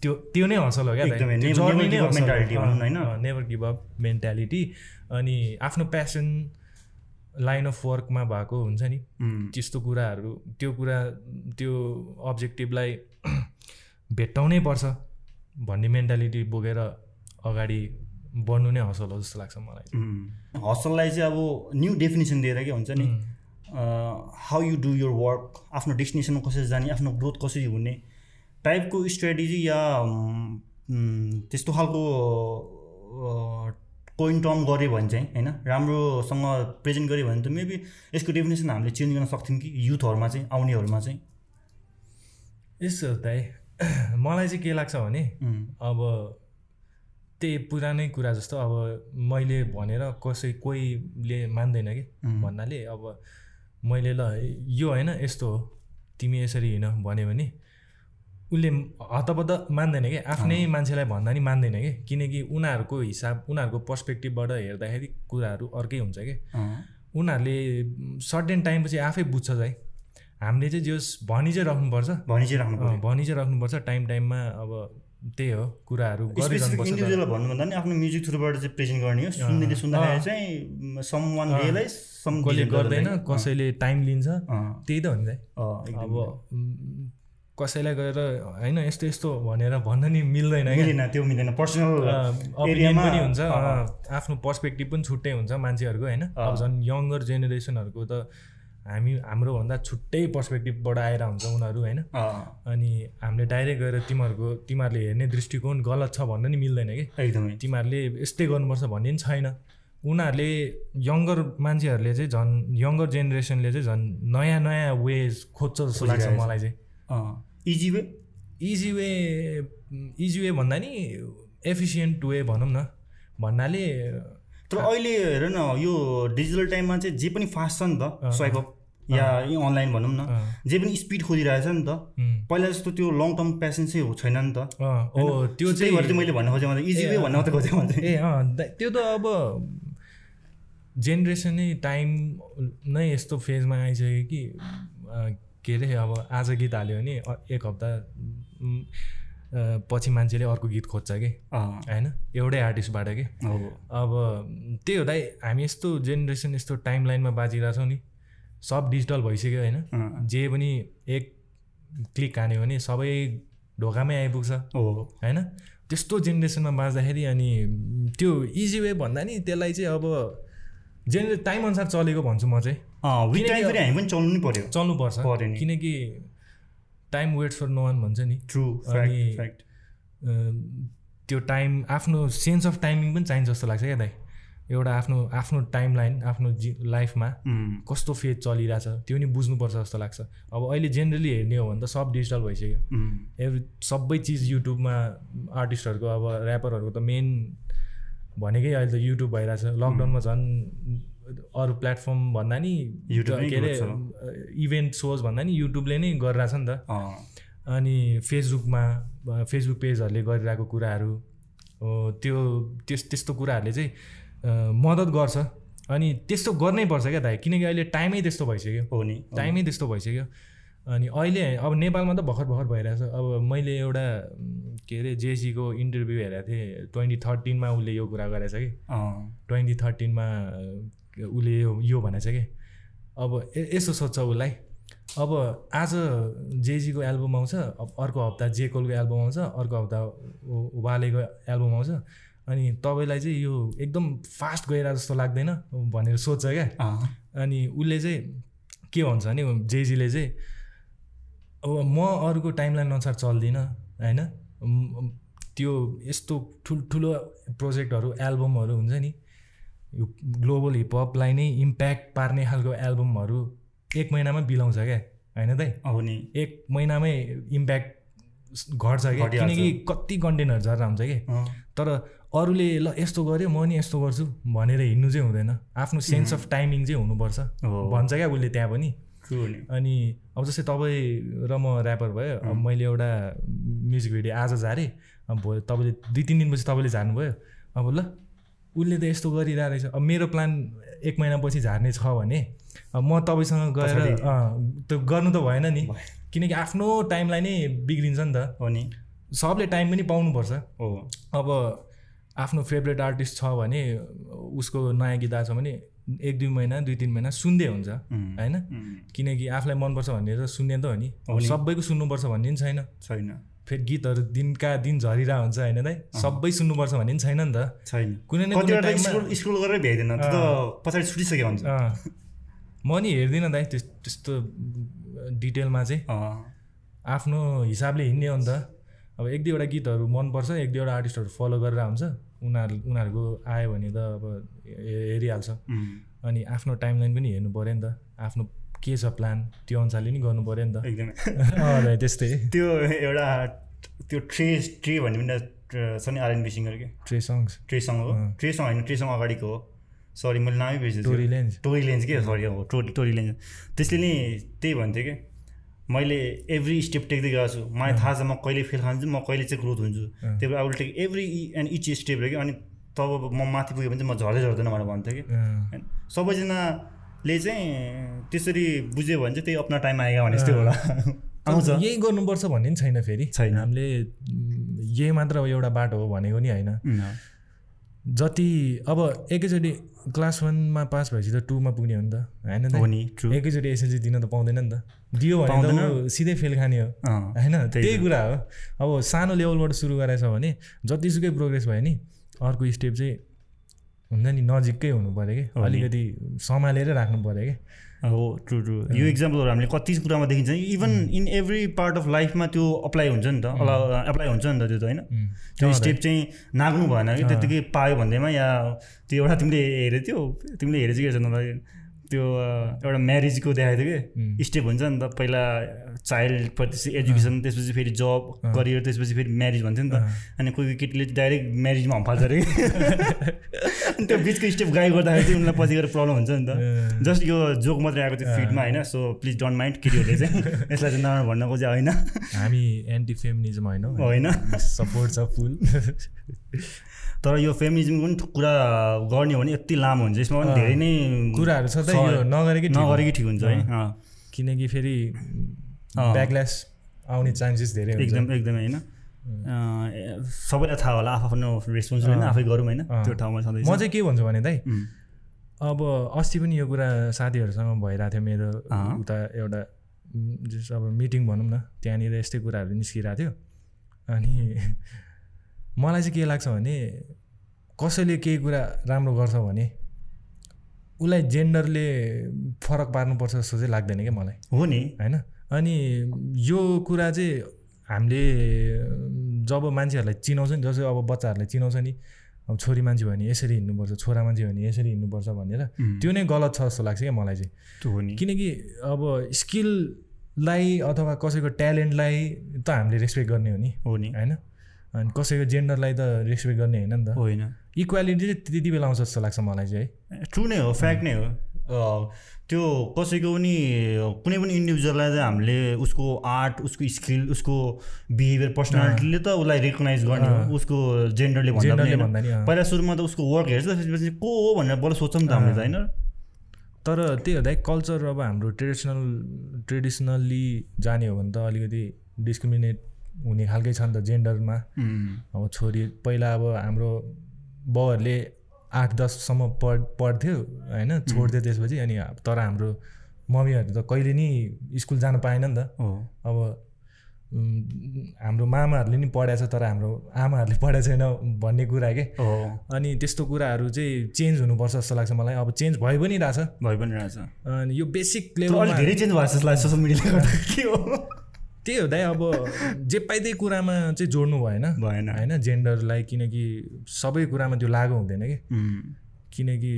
[SPEAKER 2] त्यो त्यो नै हसल हो
[SPEAKER 1] क्या
[SPEAKER 2] नेभर गिभ अप मेन्टालिटी अनि आफ्नो प्यासन लाइन अफ वर्कमा भएको हुन्छ नि
[SPEAKER 1] Mm,
[SPEAKER 2] त्यस्तो कुराहरू त्यो कुरा त्यो अब्जेक्टिभलाई <clears throat> भेट्टाउनै पर्छ भन्ने मेन्टालिटी बोकेर अगाडि बढ्नु नै हसल हो जस्तो लाग्छ मलाई mm.
[SPEAKER 1] हसललाई चाहिँ अब न्यु डेफिनेसन दिएर के हुन्छ नि how you do your work आफ्नो डेस्टिनेसनमा कसरी जाने आफ्नो ग्रोथ कसरी हुने टाइपको स्ट्राटेजी या त्यस्तो खालको कोइन टर्म गऱ्यो भने चाहिँ होइन राम्रोसँग प्रेजेन्ट गऱ्यो भने त मेबी यसको डेफिनेसन हामीले चेन्ज गर्न सक्थ्यौँ कि युथहरूमा चाहिँ आउनेहरूमा चाहिँ
[SPEAKER 2] यस्तो दाइ <clears throat> मलाई चाहिँ के लाग्छ भने अब त्यही पुरानै कुरा जस्तो अब मैले भनेर कसै कोहीले मान्दैन कि भन्नाले अब मैले ल यो होइन यस्तो हो तिमी यसरी हिँड भन्यो भने उसले हतपत मान्दैन कि आफ्नै मान्छेलाई भन्दा नि मान्दैन कि किनकि उनीहरूको हिसाब उनीहरूको पर्सपेक्टिभबाट हेर्दाखेरि कुराहरू अर्कै हुन्छ कि उनीहरूले सर्टेन टाइमपछि आफै बुझ्छ चाहिँ हामीले चाहिँ जस भनी चाहिँ राख्नुपर्छ
[SPEAKER 1] भनी चाहिँ राख्नु
[SPEAKER 2] भनी चाहिँ राख्नुपर्छ टाइम टाइममा अब त्यही हो कुराहरू
[SPEAKER 1] इन्डिभिजुअल भन्नुभन्दा नि आफ्नो म्युजिक थ्रुबाट चाहिँ प्रेजेन्ट गर्ने हो सुन्नेले सुन्दाखेरि चाहिँ समवान रियलाइज सम
[SPEAKER 2] कसले गर्दैन कसैले टाइम लिन्छ त्यही त हो नि अब कसैलाई गएर होइन यस्तो यस्तो भनेर भन्न नि मिल्दैन
[SPEAKER 1] मिल्दैन त्यो मिल्दैन पर्सनल एरियामा
[SPEAKER 2] पनि हुन्छ आफ्नो पर्सपेक्टिभ पनि छुट्टै हुन्छ मान्छेहरूको होइन अब झन् यङ्गर जेनेरेसनहरूको त हामी हाम्रोभन्दा छुट्टै पर्सपेक्टिभबाट आएर हुन्छ उनीहरू होइन अनि हामीले डाइरेक्ट गएर तिमीहरूको तिमीहरूले हेर्ने दृष्टिकोण गलत छ भन्न नि मिल्दैन कि
[SPEAKER 1] एकदमै
[SPEAKER 2] तिमीहरूले यस्तै गर्नुपर्छ भन्ने पनि छैन उनीहरूले यङ्गर मान्छेहरूले चाहिँ झन् यङ्गर जेनेरेसनले चाहिँ झन् नयाँ नयाँ वेज खोज्छ जस्तो लाग्छ मलाई चाहिँ
[SPEAKER 1] easy way
[SPEAKER 2] easy way easy way mm, भन्दा नि एफिसियन्ट वे भनौँ न भन्नाले
[SPEAKER 1] तर अहिले हेर न यो डिजिटल टाइममा चाहिँ जे पनि फास्ट छ नि त स्वाइप अप या यी अनलाइन भनौँ न
[SPEAKER 2] अँ।
[SPEAKER 1] जे पनि स्पिड खोजिरहेछ नि त
[SPEAKER 2] उम्,
[SPEAKER 1] पहिला जस्तो त्यो लङ टर्म पेसेन्स चाहिँ हो- छैन नि त
[SPEAKER 2] अँ, ओ त्यो
[SPEAKER 1] त्यही भएर
[SPEAKER 2] चाहिँ
[SPEAKER 1] चाहिँ मैले भन्न खोजेँ भन्दा इजी वे भन्न मात्रै खोजेँ भन्दा
[SPEAKER 2] ए अँ दा- त्यो त अब जेनेरेसनै टाइम नै यस्तो फेजमा आइसक्यो कि अँ, के अरे अब आज गीत हाल्यो भने अ- एक हप्ता उम्, अँ, पछि मान्छेले अर्को गीत खोज्छ कि
[SPEAKER 1] अँ,
[SPEAKER 2] होइन एउटै आर्टिस्टबाट के
[SPEAKER 1] हो
[SPEAKER 2] अब त्यही हो दाइ हामी यस्तो जेनेरेसन यस्तो टाइम लाइनमा बाँचिरहेछौँ नि सब डिजिटल भइसक्यो होइन
[SPEAKER 1] अँ,
[SPEAKER 2] जे पनि एक क्लिक हान्यो भने सबै ढोकामै आइपुग्छ
[SPEAKER 1] हो
[SPEAKER 2] होइन त्यस्तो जेनेरेसनमा बाँच्दाखेरि अनि त्यो इजी वे भन्दा नि त्यसलाई चाहिँ अब जेनेरे टाइमअनुसार चलेको भन्छु म चाहिँ
[SPEAKER 1] अँ, विथ
[SPEAKER 2] किनकि
[SPEAKER 1] टाइम फेरि हामी पनि चल्नु नै पर्यो
[SPEAKER 2] चल्नुपर्छ
[SPEAKER 1] पर्यो नि।
[SPEAKER 2] किनकि time waits for no one भन्छ नि
[SPEAKER 1] ट्रु
[SPEAKER 2] अनि-
[SPEAKER 1] फ्याक्ट
[SPEAKER 2] अम, त्यो टाइम आफ्नो सेन्स अफ टाइमिङ पनि चाहिन्छ जस्तो लाग्छ क्या दाइ एउटा आफ्नो आफ्नो टाइम लाइन आफ्नो जी लाइफमा कस्तो फेज चलिरहेछ त्यो नि बुझ्नुपर्छ जस्तो लाग्छ अब अहिले जेनरली हेर्ने हो भने त सब डिजिटल भइसक्यो एभ्री सबै चिज युट्युबमा आर्टिस्टहरूको अब ऱ्यापरहरूको त मेन भनेकै अहिले त युट्युब भइरहेछ लकडाउनमा झन् अरू प्लेटफर्म भन्दा नि
[SPEAKER 1] युट्युब नै
[SPEAKER 2] के अरे
[SPEAKER 1] गर्छ।
[SPEAKER 2] इभेन्ट सोज भन्दा नि युट्युबले नै गरिरहेछ नि त अनि फेसबुकमा अ, फेसबुक पेजहरूले गरिरहेको कुराहरू हो, त्यो त्यस त्यस्तो कुराहरूले चाहिँ अ, मद्दत गर्छ अनि त्यस्तो गर्नै पर्छ क्या दाइ किनकि अहिले टाइमै त्यस्तो भइसक्यो
[SPEAKER 1] हो नि हो।
[SPEAKER 2] टाइमै त्यस्तो भइसक्यो अनि अहिले अब नेपालमा त भर्खर भर्खर भइरहेछ अब मैले एउटा उम्, के अरे जेसीको इन्टरभ्यू हेरेको थिएँ ट्वेन्टी थर्टिनमा उसले यो कुरा गरेछ कि
[SPEAKER 1] अँ,
[SPEAKER 2] ट्वेन्टी थर्टिनमा उसले यो यो भनेछ कि अब ए- यसो सोध्छ उसलाई अब आज जेजीको एल्बम आउँछ अब अर्को हप्ता जे कोलको एल्बम आउँछ अर्को हप्ता उ- वालेको एल्बम आउँछ अनि तपाईँलाई चाहिँ यो एकदम फास्ट गएर जस्तो लाग्दैन भनेर सोध्छ क्या
[SPEAKER 1] अँ,
[SPEAKER 2] अनि उसले चाहिँ के भन्छ भने जेजीले चाहिँ अब म अरूको टाइमलाइन अनुसार चल्दिनँ होइन म- त्यो यस्तो ठुल्ठुलो प्रोजेक्टहरू एल्बमहरू हुन्छ नि यो ग्लोबल हिपहपलाई नै इम्प्याक्ट पार्ने खालको एल्बमहरू एक महिनामा बिलाउँछ क्या होइन दाइ
[SPEAKER 1] हो नि
[SPEAKER 2] एक महिनामै इम्प्याक्ट घट्छ क्या
[SPEAKER 1] घटिहाल्छ।
[SPEAKER 2] किनकि कति कन्टेन्टहरू झरेर हुन्छ कि
[SPEAKER 1] अँ,
[SPEAKER 2] तर अरूले ल यस्तो गऱ्यो म नि यस्तो गर्छु भनेर हिँड्नु चाहिँ हुँदैन आफ्नो सेन्स अफ टाइमिङ चाहिँ हुनुपर्छ
[SPEAKER 1] हो।
[SPEAKER 2] भन्छ क्या उसले त्यहाँ पनि
[SPEAKER 1] true हो नि
[SPEAKER 2] अनि अब जस्तै तपाईँ र म ऱ्यापर भयो अब मैले एउटा म्युजिक भिडियो आज झारेँ अब भयो तपाईँले दुई तिन दिनपछि तपाईँले झार्नुभयो अब ल उसले त यस्तो गरिरहेको रहेछ अब मेरो प्लान एक महिनापछि झार्ने छ भने अब म तपाईँसँग गएर
[SPEAKER 1] पछाडि।
[SPEAKER 2] अँ, त्यो गर्नु त भएन नि किनकि आफ्नो टाइमलाई नै बिग्रिन्छ नि त
[SPEAKER 1] हो नि
[SPEAKER 2] सबले टाइम पनि पाउनुपर्छ
[SPEAKER 1] हो
[SPEAKER 2] अब आफ्नो फेभरेट आर्टिस्ट छ भने उसको नयाँ गीत आएको छ भने एक दुई महिना दुई तिन महिना सुन्दै हुन्छ
[SPEAKER 1] उम्,
[SPEAKER 2] होइन
[SPEAKER 1] उम्,
[SPEAKER 2] किनकि आफूलाई मनपर्छ भनेर सुन्ने त हो नि
[SPEAKER 1] हो नि।
[SPEAKER 2] सबैको सुन्नुपर्छ भन्ने पनि छैन
[SPEAKER 1] छैन
[SPEAKER 2] फेरि गीतहरू दिनका दिन झरिरहेको हुन्छ होइन दाइ सबै सुन्नुपर्छ भन्ने पनि छैन नि त
[SPEAKER 1] छैन
[SPEAKER 2] कुनै न कुनै
[SPEAKER 1] कतिवटा
[SPEAKER 2] टाइममा
[SPEAKER 1] स्कुल स्कुल गरेर भ्याइँदैन त्यो त पछाडि छुटिसक्यो हुन्छ
[SPEAKER 2] अँ। म नि हेर्दिनँ दाइ त्यस- त्यस्तो डिटेलमा चाहिँ
[SPEAKER 1] अँ,
[SPEAKER 2] आफ्नो हिसाबले हिँड्ने हो नि त अब एक दुईवटा गीतहरू मनपर्छ एक दुईवटा आर्टिस्टहरू फलो गरेर हुन्छ उनीहरू उनीहरूको आयो भने त अब हे- हेरिहाल्छ
[SPEAKER 1] उम्,
[SPEAKER 2] अनि आफ्नो टाइमलाइन पनि हेर्नु पऱ्यो नि त आफ्नो के छ प्लान त्यो अनुसारले नि गर्नु पऱ्यो नि त
[SPEAKER 1] <laughs> एकदमै
[SPEAKER 2] अँ दाइ, त्यस्तै
[SPEAKER 1] त्यो एउटा त्यो ट्रे ट्रे भन्ने पनि एउटा छ नि आरएनबी सिङ्गर के
[SPEAKER 2] ट्रे सङ्ग्स
[SPEAKER 1] ट्रेसँग हो ट्रेसँग होइन ट्रेसँग अगाडिको हो सरी मैले नामै बिर्सेछु
[SPEAKER 2] टोरी लेन्स
[SPEAKER 1] टोरी लेन्स के सरी हो टोरी टोरी लेन्स त्यसले नि त्यही भन्थ्यो कि मैले एभ्री स्टेप टेक्दै गएको छु मलाई थाहा छ म कहिले फेल खान्छु म कहिले चाहिँ ग्रोथ हुन्छु त्यही भएर I will take every and each step कि अनि तब म माथि पुग्यो भने चाहिँ म झर्दै झर्दैन भनेर भन्थ्यो कि
[SPEAKER 2] अँ,
[SPEAKER 1] होइन सबैजनाले चाहिँ त्यसरी बुझ्यो भने चाहिँ त्यही अपना टाइम आएगा भने जस्तै होला आउँछ
[SPEAKER 2] यही गर्नुपर्छ भन्ने नि छैन फेरि
[SPEAKER 1] छैन।
[SPEAKER 2] हामीले उम्, यही मात्र हो एउटा बाटो हो भनेको नि होइन जति अब एकैचोटि क्लास वानमा पास भएपछि त टूमा पुग्ने हो नि त होइन दाइ?
[SPEAKER 1] हो नि ट्रु
[SPEAKER 2] एकैचोटि एसएलसी दिन त पाउँदैन नि त दियो भने त
[SPEAKER 1] पाउँदैन।
[SPEAKER 2] ऊ सिधै फेल खाने हो
[SPEAKER 1] अँ
[SPEAKER 2] होइन
[SPEAKER 1] त्यही
[SPEAKER 2] त्यही कुरा हो अब सानो लेभलबाट सुरु गराएछ भने जतिसुकै प्रोग्रेस भयो नि अर्को स्टेप चाहिँ हुन्छ नि नजिकै हुनु पऱ्यो कि
[SPEAKER 1] हो नि।
[SPEAKER 2] अलिकति सम्हालेर राख्नु पऱ्यो कि
[SPEAKER 1] हो ट्रु ट्रु यो इक्जाम्पलहरू हामीले कति कुरामा देखिन्छ even in every part of लाइफमा त्यो अप्लाई हुन्छ नि त एप्लाई हुन्छ नि त त्यो त होइन त्यो स्टेप चाहिँ नाग्नु भएन कि त्यत्तिकै पायो भन्दैमा या त्यो एउटा तिमीले हेरेको थियो तिमीले हेरेको चाहिँ के छ भन्दा त्यो अ, एउटा म्यारिजको देखाएको थियो कि स्टेप हुन्छ नि त पहिला चाइल्ड त्यसपछि एजुकेसन त्यसपछि फेरि जब करियर त्यसपछि फेरि म्यारिज भन्छ नि त अनि कोही कोही केटीले डाइरेक्ट म्यारिजमा हम्फाल्छ अरे त्यो बिचको स्टेप गाई गर्दाखेरि चाहिँ उनलाई पछि गएर प्रब्लम हुन्छ नि त जस्ट यो जोक मात्रै आएको थियो फिडमा होइन सो प्लिज डोन्ट माइन्ड केटीहरूले चाहिँ
[SPEAKER 2] <laughs>
[SPEAKER 1] यसलाई चाहिँ नराम्रो भन्न खोजे होइन
[SPEAKER 2] हामी एन्टी फेमिनिजम होइन
[SPEAKER 1] होइन
[SPEAKER 2] सपोर्ट छ फुल
[SPEAKER 1] <laughs> तर यो फेमिनिजमको पनि कुरा गर्ने हो भने यति लामो हुन्छ यसमा पनि धेरै नै
[SPEAKER 2] कुराहरू सधैँ यो नगरेकै ठिक
[SPEAKER 1] नगरेकै ठिक हुन्छ है अँ,
[SPEAKER 2] किनकि फेरि
[SPEAKER 1] अँ।
[SPEAKER 2] ब्याकल्यास आउने चान्सेस धेरै हुन्छ
[SPEAKER 1] एकदम एकदमै होइन अँ, सबैलाई थाहा होला आफ्नो रेस्पोन्सिबल होइन आफै गरौँ होइन
[SPEAKER 2] अँ।
[SPEAKER 1] त्यो ठाउँमा सधैँ
[SPEAKER 2] म चाहिँ के भन्छु भने दाइ
[SPEAKER 1] उम्,
[SPEAKER 2] अब अस्ति पनि यो कुरा साथीहरूसँग भइरहेको थियो मेरो
[SPEAKER 1] अँ।
[SPEAKER 2] उता एउटा उम्, जस अब मिटिङ भनौँ न त्यहाँनिर यस्तै कुराहरू निस्किरहेको थियो अनि <laughs> मलाई चाहिँ के लाग्छ भने कसैले केही कुरा राम्रो गर्छ भने उसलाई जेन्डरले फरक पार्नुपर्छ जस्तो चाहिँ लाग्दैन क्या मलाई
[SPEAKER 1] हो नि
[SPEAKER 2] होइन अनि यो कुरा चाहिँ हामीले जब मान्छेहरूलाई चिनाउँछ नि जस्तै अब बच्चाहरूलाई चिनाउँछ नि अब छोरी मान्छे भने यसरी हिँड्नुपर्छ छोरा मान्छे भने यसरी हिँड्नुपर्छ भनेर
[SPEAKER 1] उम्,
[SPEAKER 2] त्यो नै गलत छ जस्तो लाग्छ क्या मलाई चाहिँ
[SPEAKER 1] त्यो हो नि
[SPEAKER 2] किनकि अब स्किललाई अथवा कसैको ट्यालेन्टलाई त हामीले रेस्पेक्ट गर्ने हो नि
[SPEAKER 1] हो नि
[SPEAKER 2] होइन अनि कसैको जेन्डरलाई त रेस्पेक्ट गर्ने होइन नि त
[SPEAKER 1] होइन
[SPEAKER 2] इक्वालिटी चाहिँ त्यति बेला आउँछ जस्तो लाग्छ मलाई चाहिँ है
[SPEAKER 1] ट्रु नै हो फ्याक्ट नै हो अँ, त्यो कसैको पनि कुनै पनि इन्डिभिजुअललाई चाहिँ हामीले उसको आर्ट उसको स्किल उसको बिहेभियर पर्सनालिटीले त उसलाई रेकगनाइज गर्ने हो उसको जेन्डरले भन्दा पनि
[SPEAKER 2] जेन्डरले
[SPEAKER 1] होइन।
[SPEAKER 2] भन्दा नि अँ।
[SPEAKER 1] पहिला सुरुमा त उसको वर्क हेर्छ त्यसपछि को हो भनेर बल्ल सोध्छौँ नि त हामीले त होइन
[SPEAKER 2] तर त्यही हो दाइ कल्चर अब हाम्रो ट्रेडिसनल ट्रेडिसनल्ली जाने हो भने त अलिकति डिस्क्रिमिनेट हुने खालकै छ नि त जेन्डरमा
[SPEAKER 1] उम्,
[SPEAKER 2] अब छोरी पहिला अब हाम्रो बाउहरूले आठ दससम्म पढ पढ्थ्यो होइन छोड्थ्यो त्यसपछि अनि तर हाम्रो मम्मीहरू त कहिले नि स्कुल जानु पाएन नि त
[SPEAKER 1] हो
[SPEAKER 2] अब उम्, हाम्रो मामाहरूले नि पढाएछ तर हाम्रो आमाहरूले पढाएको छैन भन्ने कुरा के
[SPEAKER 1] हो
[SPEAKER 2] अनि त्यस्तो कुराहरू चाहिँ चेन्ज हुनुपर्छ जस्तो लाग्छ मलाई अब चेन्ज भइ पनि रहेछ
[SPEAKER 1] भइ पनि रहेछ
[SPEAKER 2] अनि यो बेसिक
[SPEAKER 1] तर
[SPEAKER 2] लेभल
[SPEAKER 1] अलिक धेरै चेन्ज भएको जस्तो लाग्छ सोसियल मिडियाले गर्दा के हो
[SPEAKER 2] त्यही हो दाइ अब जे पाइ त्यही कुरामा चाहिँ जोड्नु भएन
[SPEAKER 1] <laughs> भएन
[SPEAKER 2] होइन जेन्डरलाई किनकि सबै कुरामा त्यो लागु हुँदैन कि
[SPEAKER 1] उम्,
[SPEAKER 2] किनकि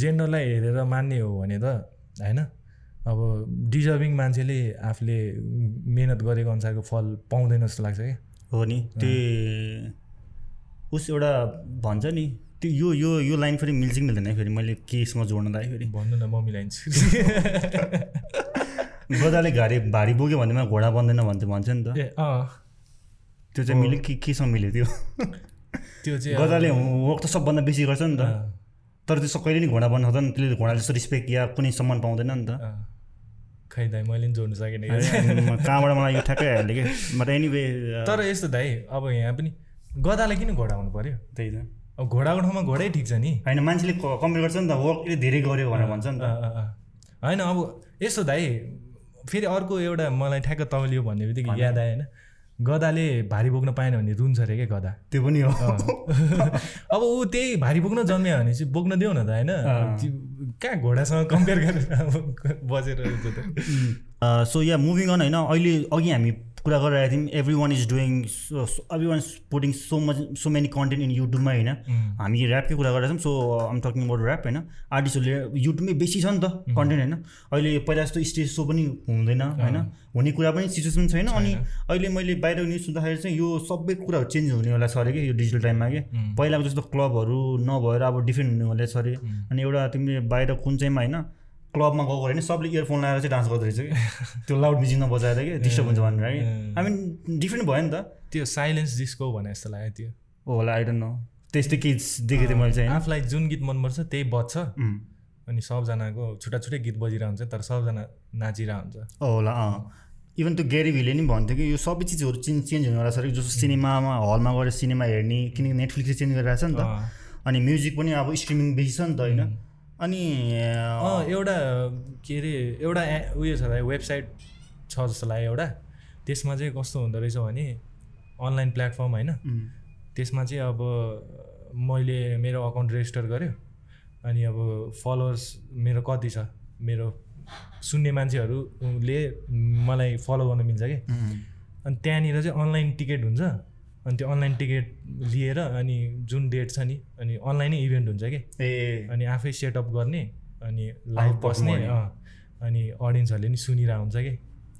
[SPEAKER 2] जेन्डरलाई हेरेर मान्ने हो भने त होइन अब डिजर्भिङ मान्छेले आफूले मिहिनेत गरेको अनुसारको फल पाउँदैन जस्तो लाग्छ क्या
[SPEAKER 1] हो नि त्यही उस एउटा भन्छ नि त्यो यो यो यो लाइन फेरि मिल्छ कि मिल्दैन फेरि मैले केसँग जोड्न दाएँ फेरि
[SPEAKER 2] भन्नु न मम्मीलाई
[SPEAKER 1] गदाले घारी भारी बोक्यो भनेमा घोडा बन्दैन भन्थ्यो भन्छ नि त
[SPEAKER 2] <laughs> ए अँ
[SPEAKER 1] त्यो चाहिँ मिल्यो कि केसँग मिल्यो त्यो
[SPEAKER 2] <laughs> त्यो चाहिँ अब-
[SPEAKER 1] गदाले वर्क त सबभन्दा बेसी गर्छ नि त
[SPEAKER 2] अँ,
[SPEAKER 1] तर त्यसो कहिले नि घोडा बन्न सक्दैन त्यसले घोडा जस्तो रेस्पेक्ट या कुनै सम्मान पाउँदैन नि त <laughs>
[SPEAKER 2] अँ। खै दाइ मैले नि जोड्नु सकेन
[SPEAKER 1] म
[SPEAKER 2] कि।
[SPEAKER 1] कहाँबाट मलाई यो ठ्याक्कै हाल्यो कि बट एनिवे
[SPEAKER 2] तर यस्तो दाइ अब यहाँ पनि गदाले किन घोडा हुनु पर्यो
[SPEAKER 1] त्यही त
[SPEAKER 2] अब घोडाको ठाउँमा घोडै ठिक छ नि
[SPEAKER 1] होइन मान्छेले कम्पेयर गर्छ नि त वर्कले धेरै गऱ्यो भनेर भन्छ नि त
[SPEAKER 2] अ, अ, अ। होइन अब यस्तो दाइ फेरि अर्को एउटा मलाई ठ्याक्क तौलियो भन्ने बित्तिकै याद आयो होइन गदाले भारी बोक्न पाएन भने रुन्छ अरे क्या गदा <laughs>
[SPEAKER 1] त्यो पनि हो
[SPEAKER 2] अब ऊ त्यही भारी बोक्न जन्म्यो भने चाहिँ बोक्न देऊ न त होइन त्यो कहाँ घोडासँग कम्पेयर गरेर अब बजेर हुन्छ त
[SPEAKER 1] <laughs> सो या मुभिङ अन होइन अहिले अघि हामी कुरा गरिरहेको थियौँ every one is doing every one is putting so much so many content in युट्युबमा होइन हामी ऱ्यापकै कुरा uh, गरेका छौँ so I'm talking about rap होइन आर्टिस्टहरूले युट्युबमै बेसी छ नि त कन्टेन्ट होइन अहिले पहिला जस्तो स्टेज सो पनि हुँदैन होइन हुने कुरा पनि सिचुएसन छैन अनि अहिले मैले बाहिर न्युज सुन्दाखेरि चाहिँ यो सबै कुराहरू चेन्ज हुनेवाला छ अरे कि यो डिजिटल टाइममा के पहिलाको जस्तो क्लबहरू नभएर अब डिफ्रेन्ट हुनेवाला छ अरे अनि एउटा तिमीले बाहिर कुन चाहिँमा होइन क्लबमा गएको होइन सबले इयरफोन लगाएर चाहिँ डान्स गर्दो रहेछ कि <laughs> त्यो लाउड म्युजिक नबजाएर कि डिस्टर्ब हुन्छ भनेर कि आई मिन डिफ्रेन्ट भयो नि त
[SPEAKER 2] त्यो साइलेन्स डिस्को भने जस्तो लाग्यो त्यो
[SPEAKER 1] होला आई डोन्ट नो त्यस्तै के देखेको थिएँ मैले चाहिँ होइन
[SPEAKER 2] आफूलाई जुन गीत मनपर्छ त्यही बज्छ
[SPEAKER 1] उम्,
[SPEAKER 2] अनि सबजनाको छुट्टा छुट्टै गीत बजिरह हुन्छ तर सबजना नाचिरह हुन्छ
[SPEAKER 1] अँ, होला अँ इभन त्यो ग्यारी भीले नि भन्थ्यो कि यो सबै चिजहरू चेन्ज चेन्ज हुनेवाला छ अरे जस्तो सिनेमामा हलमा गएर सिनेमा हेर्ने किनकि नेटफ्लिक्सले चेन्ज गरिरहेको छ नि त
[SPEAKER 2] अँ।
[SPEAKER 1] अनि म्युजिक पनि अब स्ट्रिमिङ बेसी छ नि त होइन अनि अँ,
[SPEAKER 2] अँ, एउटा के अरे एउटा ए- उयो छ भाइ वेबसाइट छ जस्तो लाग्यो एउटा त्यसमा चाहिँ कस्तो हुँदो रहेछ भने अनलाइन प्लेटफर्म होइन
[SPEAKER 1] उम्,
[SPEAKER 2] त्यसमा चाहिँ अब मैले मेरो अकाउन्ट रेजिस्टर गरेँ अनि अब फलोवर्स मेरो कति छ मेरो सुन्ने मान्छेहरूले मलाई फलो गर्नु मिल्छ कि
[SPEAKER 1] उम्,
[SPEAKER 2] अनि त्यहाँनिर चाहिँ अनलाइन टिकट हुन्छ अनि त्यो अनलाइन टिकट लिएर अनि जुन डेट छ नि अनि अनलाइनै इभेन्ट हुन्छ कि
[SPEAKER 1] ए
[SPEAKER 2] अनि आफै सेटअप गर्ने अनि लाइभ
[SPEAKER 1] पर्फर्म
[SPEAKER 2] बस्ने
[SPEAKER 1] गर्ने।
[SPEAKER 2] अँ, अनि अडियन्सहरूले नि सुनिरहेको हुन्छ कि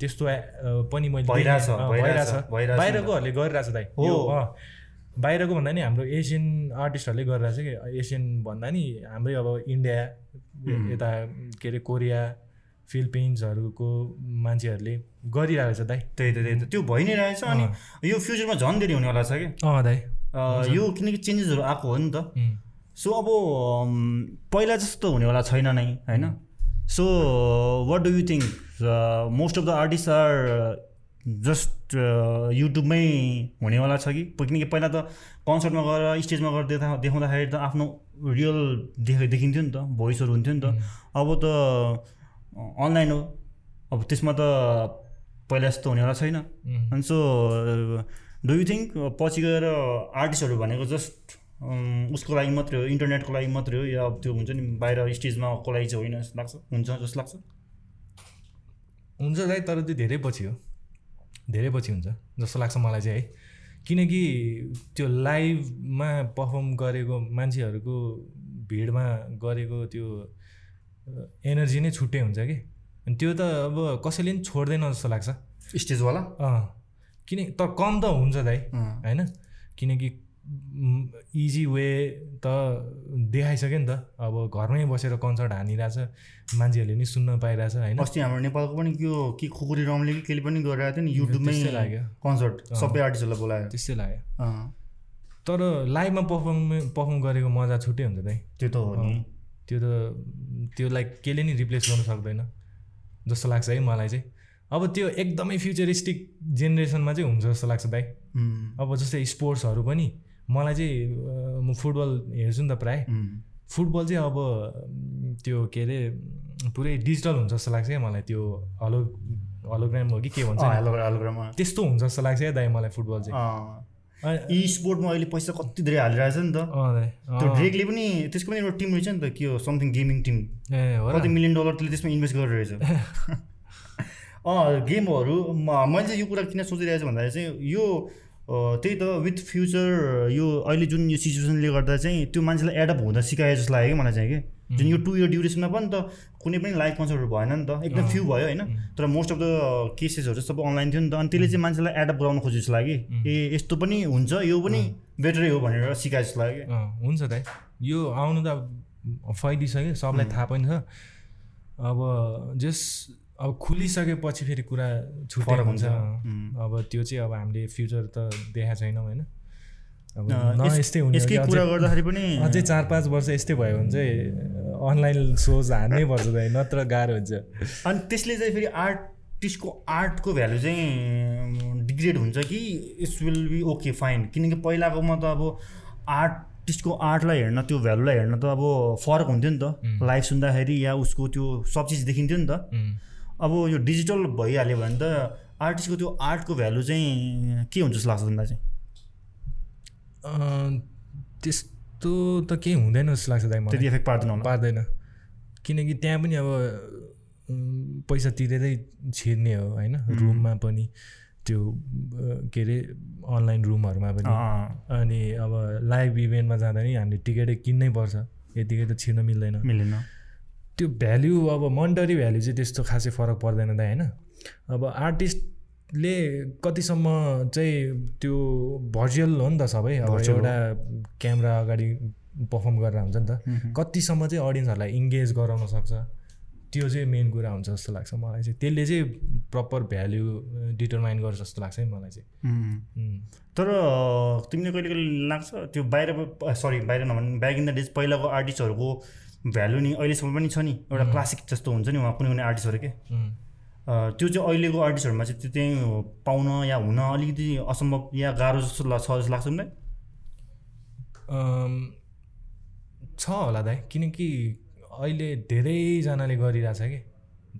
[SPEAKER 2] त्यस्तो ए- अ, पनि मैले
[SPEAKER 1] भइरहेछ,
[SPEAKER 2] देखेँ। अँ,
[SPEAKER 1] भइरहेछ,
[SPEAKER 2] भइरहेछ।
[SPEAKER 1] भइरहेछ नि त।
[SPEAKER 2] बाहिरकोहरूले गरिरहेछ दाइ
[SPEAKER 1] हो।
[SPEAKER 2] यो, अँ। बाहिरको भन्दा नि हाम्रो एसियन आर्टिस्टहरूले गरेर चाहिँ के एसियन भन्दा नि हाम्रै अब इन्डिया यता के अरे कोरिया फिलिपिन्सहरूको मान्छेहरूले गरिरहेको छ दाइ
[SPEAKER 1] त्यही त त्यही त त्यो भइ नै रहेछ अनि यो फ्युचरमा झन् धेरै हुनेवाला छ कि
[SPEAKER 2] अँ दाइ
[SPEAKER 1] यो किनकि चेन्जेसहरू आएको हो नि त सो अब पहिला जस्तो हुनेवाला छैन नै होइन so what do you think most of the artist are just युट्युबमै हुनेवाला छ कि किनकि पहिला त कन्सर्टमा गएर स्टेजमा गएर देखा देखाउँदाखेरि त आफ्नो रियल देख देखिन्थ्यो नि त भोइसहरू हुन्थ्यो नि त अब त अनलाइन हो अब त्यसमा त पहिला जस्तो हुनेवाला छैन अनि सो डु यु थिङ्क पछि गएर आर्टिस्टहरू भनेको जस्ट um, उसको लागि मात्रै हो इन्टरनेटको लागि मात्रै हो या त्यो हुन्छ नि बाहिर स्टेजमाको लागि चाहिँ होइन जस्तो लाग्छ हुन्छ जस्तो लाग्छ
[SPEAKER 2] हुन्छ दाइ तर त्यो धेरै पछि हो धेरै पछि हुन्छ जस्तो लाग्छ मलाई चाहिँ है किनकि त्यो लाइभमा पर्फर्म गरेको मान्छेहरूको भिडमा गरेको त्यो एनर्जी नै छुट्टै हुन्छ कि अनि त्यो त अब कसैले पनि छोड्दैन जस्तो लाग्छ
[SPEAKER 1] स्टेजवाला
[SPEAKER 2] अँ किन तर कम त हुन्छ दाइ होइन किनकि इजी वे त देखाइसक्यो नि त अब घरमै बसेर कन्सर्ट हानिरहेछ मान्छेहरूले नि सुन्न पाइरहेछ होइन
[SPEAKER 1] अस्ति हाम्रो नेपालको पनि त्यो के खुकुरी रमले कि केले पनि गरिरहेको थियो नि युट्युबमै लाग्यो कन्सर्ट सबै आर्टिस्टहरूलाई बोलायो
[SPEAKER 2] त्यस्तै लाग्यो तर लाइभमा पर्फर्म पर्फर्म गरेको मजा छुट्टै हुन्छ दाइ
[SPEAKER 1] त्यो त हो नि
[SPEAKER 2] त्यो त त्योलाई केले नि रिप्लेस गर्नु सक्दैन जस्तो लाग्छ है मलाई चाहिँ अब त्यो एकदमै फ्युचरिस्टिक जेनेरेसनमा चाहिँ हुन्छ जस्तो लाग्छ दाइ अब जस्तै स्पोर्ट्सहरू पनि मलाई चाहिँ म फुटबल हेर्छु नि त प्रायः फुटबल चाहिँ अब त्यो के अरे पुरै डिजिटल हुन्छ जस्तो लाग्छ क्या मलाई त्यो हलो हलोग्राम हो कि के भन्छ
[SPEAKER 1] हलोग्राम
[SPEAKER 2] त्यस्तो हुन्छ जस्तो लाग्छ क्या दाइ मलाई फुटबल
[SPEAKER 1] चाहिँ यी स्पोर्टमा अहिले पैसा कति धेरै हालिरहेछ नि त त्यो ड्रेकले पनि त्यसको पनि एउटा टिम रहेछ नि त के हो समथिङ गेमिङ टिम
[SPEAKER 2] ए हो
[SPEAKER 1] कति मिलियन डलर त्यसले त्यसमा इन्भेस्ट गरेर रहेछ
[SPEAKER 2] <laughs>
[SPEAKER 1] अँ गेमहरू मैले चाहिँ यो कुरा किन सोचिरहेको छु भन्दाखेरि चाहिँ यो त्यही त विथ फ्युचर यो अहिले जुन यो सिचुएसनले गर्दा चाहिँ त्यो मान्छेलाई एडप्ट हुँदा सिकायो जस्तो लाग्यो कि मलाई चाहिँ कि जुन यो टु इयर ड्युरेसनमा पनि त कुनै पनि लाइभ कन्सर्टहरू भएन नि त एकदम फ्यु भयो होइन तर मोस्ट अफ द केसेसहरू चाहिँ सबै अनलाइन थियो नि त अनि त्यसले चाहिँ मान्छेलाई एडप्ट गराउन खोजे जस्तो लाग्यो ए यस्तो पनि हुन्छ यो पनि बेटरै हो भनेर सिकायो जस्तो लाग्यो
[SPEAKER 2] हुन्छ दाइ यो आउनु त फैलिसक्यो सबलाई थाहा पनि छ अब जस अब खुलिसकेपछि फेरि कुरा छुट्टै हुन्छ अब त्यो चाहिँ अब हामीले फ्युचर त देखाएको छैनौँ होइन अब यस्तै हुने
[SPEAKER 1] यसकै कुरा गर्दाखेरि पनि
[SPEAKER 2] अझै चार पाँच वर्ष यस्तै भयो भने चाहिँ अनलाइन सोज हार्नै पर्छ त नत्र गाह्रो हुन्छ
[SPEAKER 1] <laughs> अनि त्यसले चाहिँ फेरि आर्टिस्टको आर्टको भ्यालु चाहिँ डिग्रेड हुन्छ कि it's will be okay fine किनकि पहिलाकोमा त अब आर्ट आर्टिस्टको आर्टलाई हेर्न त्यो भ्यालुलाई हेर्न त अब फरक हुन्थ्यो नि त लाइभ सुन्दाखेरि या उसको त्यो सब चिज देखिन्थ्यो नि त अब यो डिजिटल भइहाल्यो भने त आर्टिस्टको त्यो आर्टको भ्यालु चाहिँ के हुन्छ जस्तो लाग्छ भन्दा चाहिँ
[SPEAKER 2] त्यस्तो त केही हुँदैन जस्तो लाग्छ दाइ
[SPEAKER 1] त्यति इफेक्ट पार्दैन
[SPEAKER 2] पार्दैन किनकि त्यहाँ पनि अब पैसा तिरेरै छिर्ने हो होइन रुममा पनि त्यो के अरे अनलाइन रुमहरूमा पनि अनि अब लाइभ इभेन्टमा जाँदा नि हामीले टिकटै किन्नै पर्छ यतिकै त छिर्न मिल्दैन
[SPEAKER 1] मिल्दैन
[SPEAKER 2] त्यो भ्याल्यु अब मन्टरी भ्याल्यु चाहिँ त्यस्तो खासै फरक पर्दैन त होइन अब आर्टिस्टले कतिसम्म चाहिँ त्यो भर्चुअल हो नि त सबै अब एउटा क्यामेरा अगाडि पर्फर्म गरेर हुन्छ नि त कतिसम्म चाहिँ अडियन्सहरूलाई इङ्गेज गराउन सक्छ त्यो चाहिँ मेन कुरा हुन्छ जस्तो लाग्छ मलाई चाहिँ त्यसले चाहिँ प्रपर भ्याल्यु डिटरमाइन गर्छ जस्तो लाग्छ है मलाई चाहिँ
[SPEAKER 1] तर तिमीले कहिले कहिले लाग्छ त्यो बाहिर सरी बाहिर नभने ब्याक इन द डेज पहिलाको आर्टिस्टहरूको भ्यालु नि अहिलेसम्म पनि छ नि एउटा क्लासिक जस्तो हुन्छ नि उहाँ कुनै कुनै आर्टिस्टहरू के त्यो चाहिँ अहिलेको आर्टिस्टहरूमा चाहिँ त्यो त्यहीँ पाउन या हुन अलिकति असम्भव या गाह्रो जस्तो लाग्छ जस्तो लाग्छ मलाई
[SPEAKER 2] छ होला दाइ किनकि अहिले धेरैजनाले गरिरहेछ कि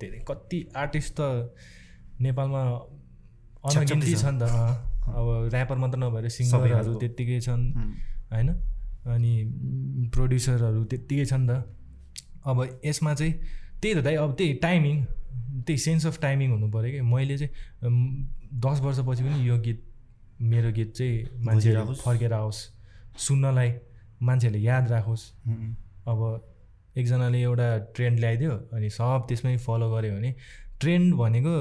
[SPEAKER 2] धेरै कति आर्टिस्ट त नेपालमा अनगिन्ती छन् त अब ऱ्यापर मात्र नभएर सिङ्गरहरू त्यत्तिकै छन् होइन अनि प्रड्युसरहरू त्यत्तिकै छन् त अब यसमा चाहिँ त्यही त दाइ अब त्यही टाइमिङ त्यही सेन्स अफ टाइमिङ हुनु पऱ्यो कि मैले चाहिँ दस वर्षपछि पनि यो गीत मेरो गीत चाहिँ मान्छेहरू फर्केर आओस् सुन्नलाई मान्छेहरूले याद राखोस् अब एकजनाले एउटा ट्रेन्ड ल्याइदियो अनि सब त्यसमै फलो गऱ्यो भने ट्रेन्ड भनेको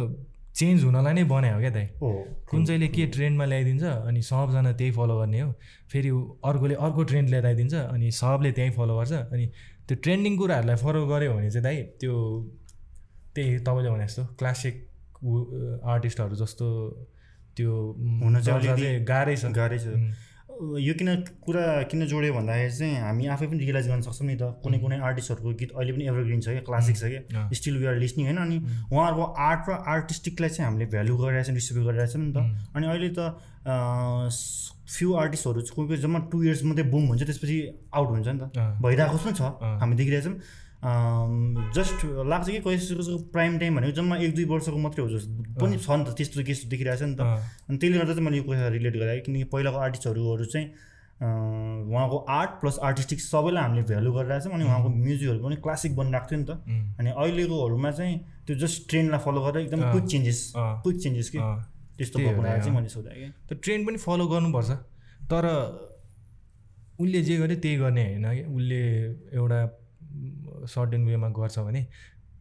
[SPEAKER 2] चेन्ज हुनलाई नै बनायो क्या दाइ
[SPEAKER 1] ओ
[SPEAKER 2] कुन चाहिँले के ट्रेन्डमा ल्याइदिन्छ अनि सबजना त्यही फलो गर्ने हो फेरि उ- अर्कोले अर्को ट्रेन्ड ल्याएर आइदिन्छ अनि सबले त्यहीँ फलो गर्छ अनि त्यो ट्रेन्डिङ कुराहरूलाई फलो गऱ्यो भने चाहिँ दाइ त्यो त्यही तपाईँले भने जस्तो क्लासिक उ- आर्टिस्टहरू जस्तो त्यो म,
[SPEAKER 1] हुन चाहिँ
[SPEAKER 2] दर्जा
[SPEAKER 1] अलिअलि
[SPEAKER 2] चाहिँ गाह्रै छ
[SPEAKER 1] गाह्रै छ
[SPEAKER 2] उम्,
[SPEAKER 1] अब यो किन कुरा किन जोड्यो भन्दाखेरि चाहिँ हामी आफै पनि रियलाइज गर्न सक्छौँ नि त कुनै कुनै आर्टिस्टहरूको गीत अहिले पनि एभरग्रिन छ क्या क्लासिक छ क्या
[SPEAKER 2] अँ।
[SPEAKER 1] स्टिल आर लिस्निङ होइन अनि उहाँहरूको आर्ट र आर्टिस्टिकलाई चाहिँ हामीले भ्यालु गरिरहेछौँ रिस्पेक्ट गरिरहेछौँ नि त अनि अहिले त फ्यु आर्टिस्टहरू चाहिँ कोही कोही जम्मा टु इयर्स मात्रै बुम हुन्छ त्यसपछि आउट हुन्छ नि त
[SPEAKER 2] अँ,
[SPEAKER 1] भइरहेको पनि छ
[SPEAKER 2] अँ।
[SPEAKER 1] हामी देखिरहेछौँ जस्ट लाग्छ कि कसैको कसैको प्राइम टाइम भनेको जम्मा एक दुई वर्षको मात्रै हो जस्तो पनि छ नि त त्यस्तो केस देखिरहेछ नि त
[SPEAKER 2] अँ,
[SPEAKER 1] अनि त्यसले गर्दा चाहिँ मैले यो कुरा रिलेट गरेँ किनकि पहिलाको आर्टिस्टहरूहरू चाहिँ अ, उहाँको आर्ट प्लस आर्टिस्टिक सबैलाई हामीले भ्यालु गरिरहेछौँ अनि उहाँको म्युजिकहरू पनि क्लासिक बनिरहेको थियो नि त
[SPEAKER 2] उम्,
[SPEAKER 1] अनि अहिलेकोहरूमा चाहिँ त्यो जस्ट ट्रेन्डलाई फलो गरेर एकदम
[SPEAKER 2] अँ,
[SPEAKER 1] क्विक चेन्जेस
[SPEAKER 2] अँ,
[SPEAKER 1] क्विक चेन्जेस के
[SPEAKER 2] अँ।
[SPEAKER 1] त्यस्तो
[SPEAKER 2] त्यही
[SPEAKER 1] भएको
[SPEAKER 2] हो,
[SPEAKER 1] कुरा चाहिँ
[SPEAKER 2] अँ।
[SPEAKER 1] मैले सोधेँ कि
[SPEAKER 2] त ट्रेन्ड पनि फलो गर्नुपर्छ तर उसले जे गर्यो त्यही गर्ने होइन कि उसले एउटा सर्टेन वेमा गर्छ भने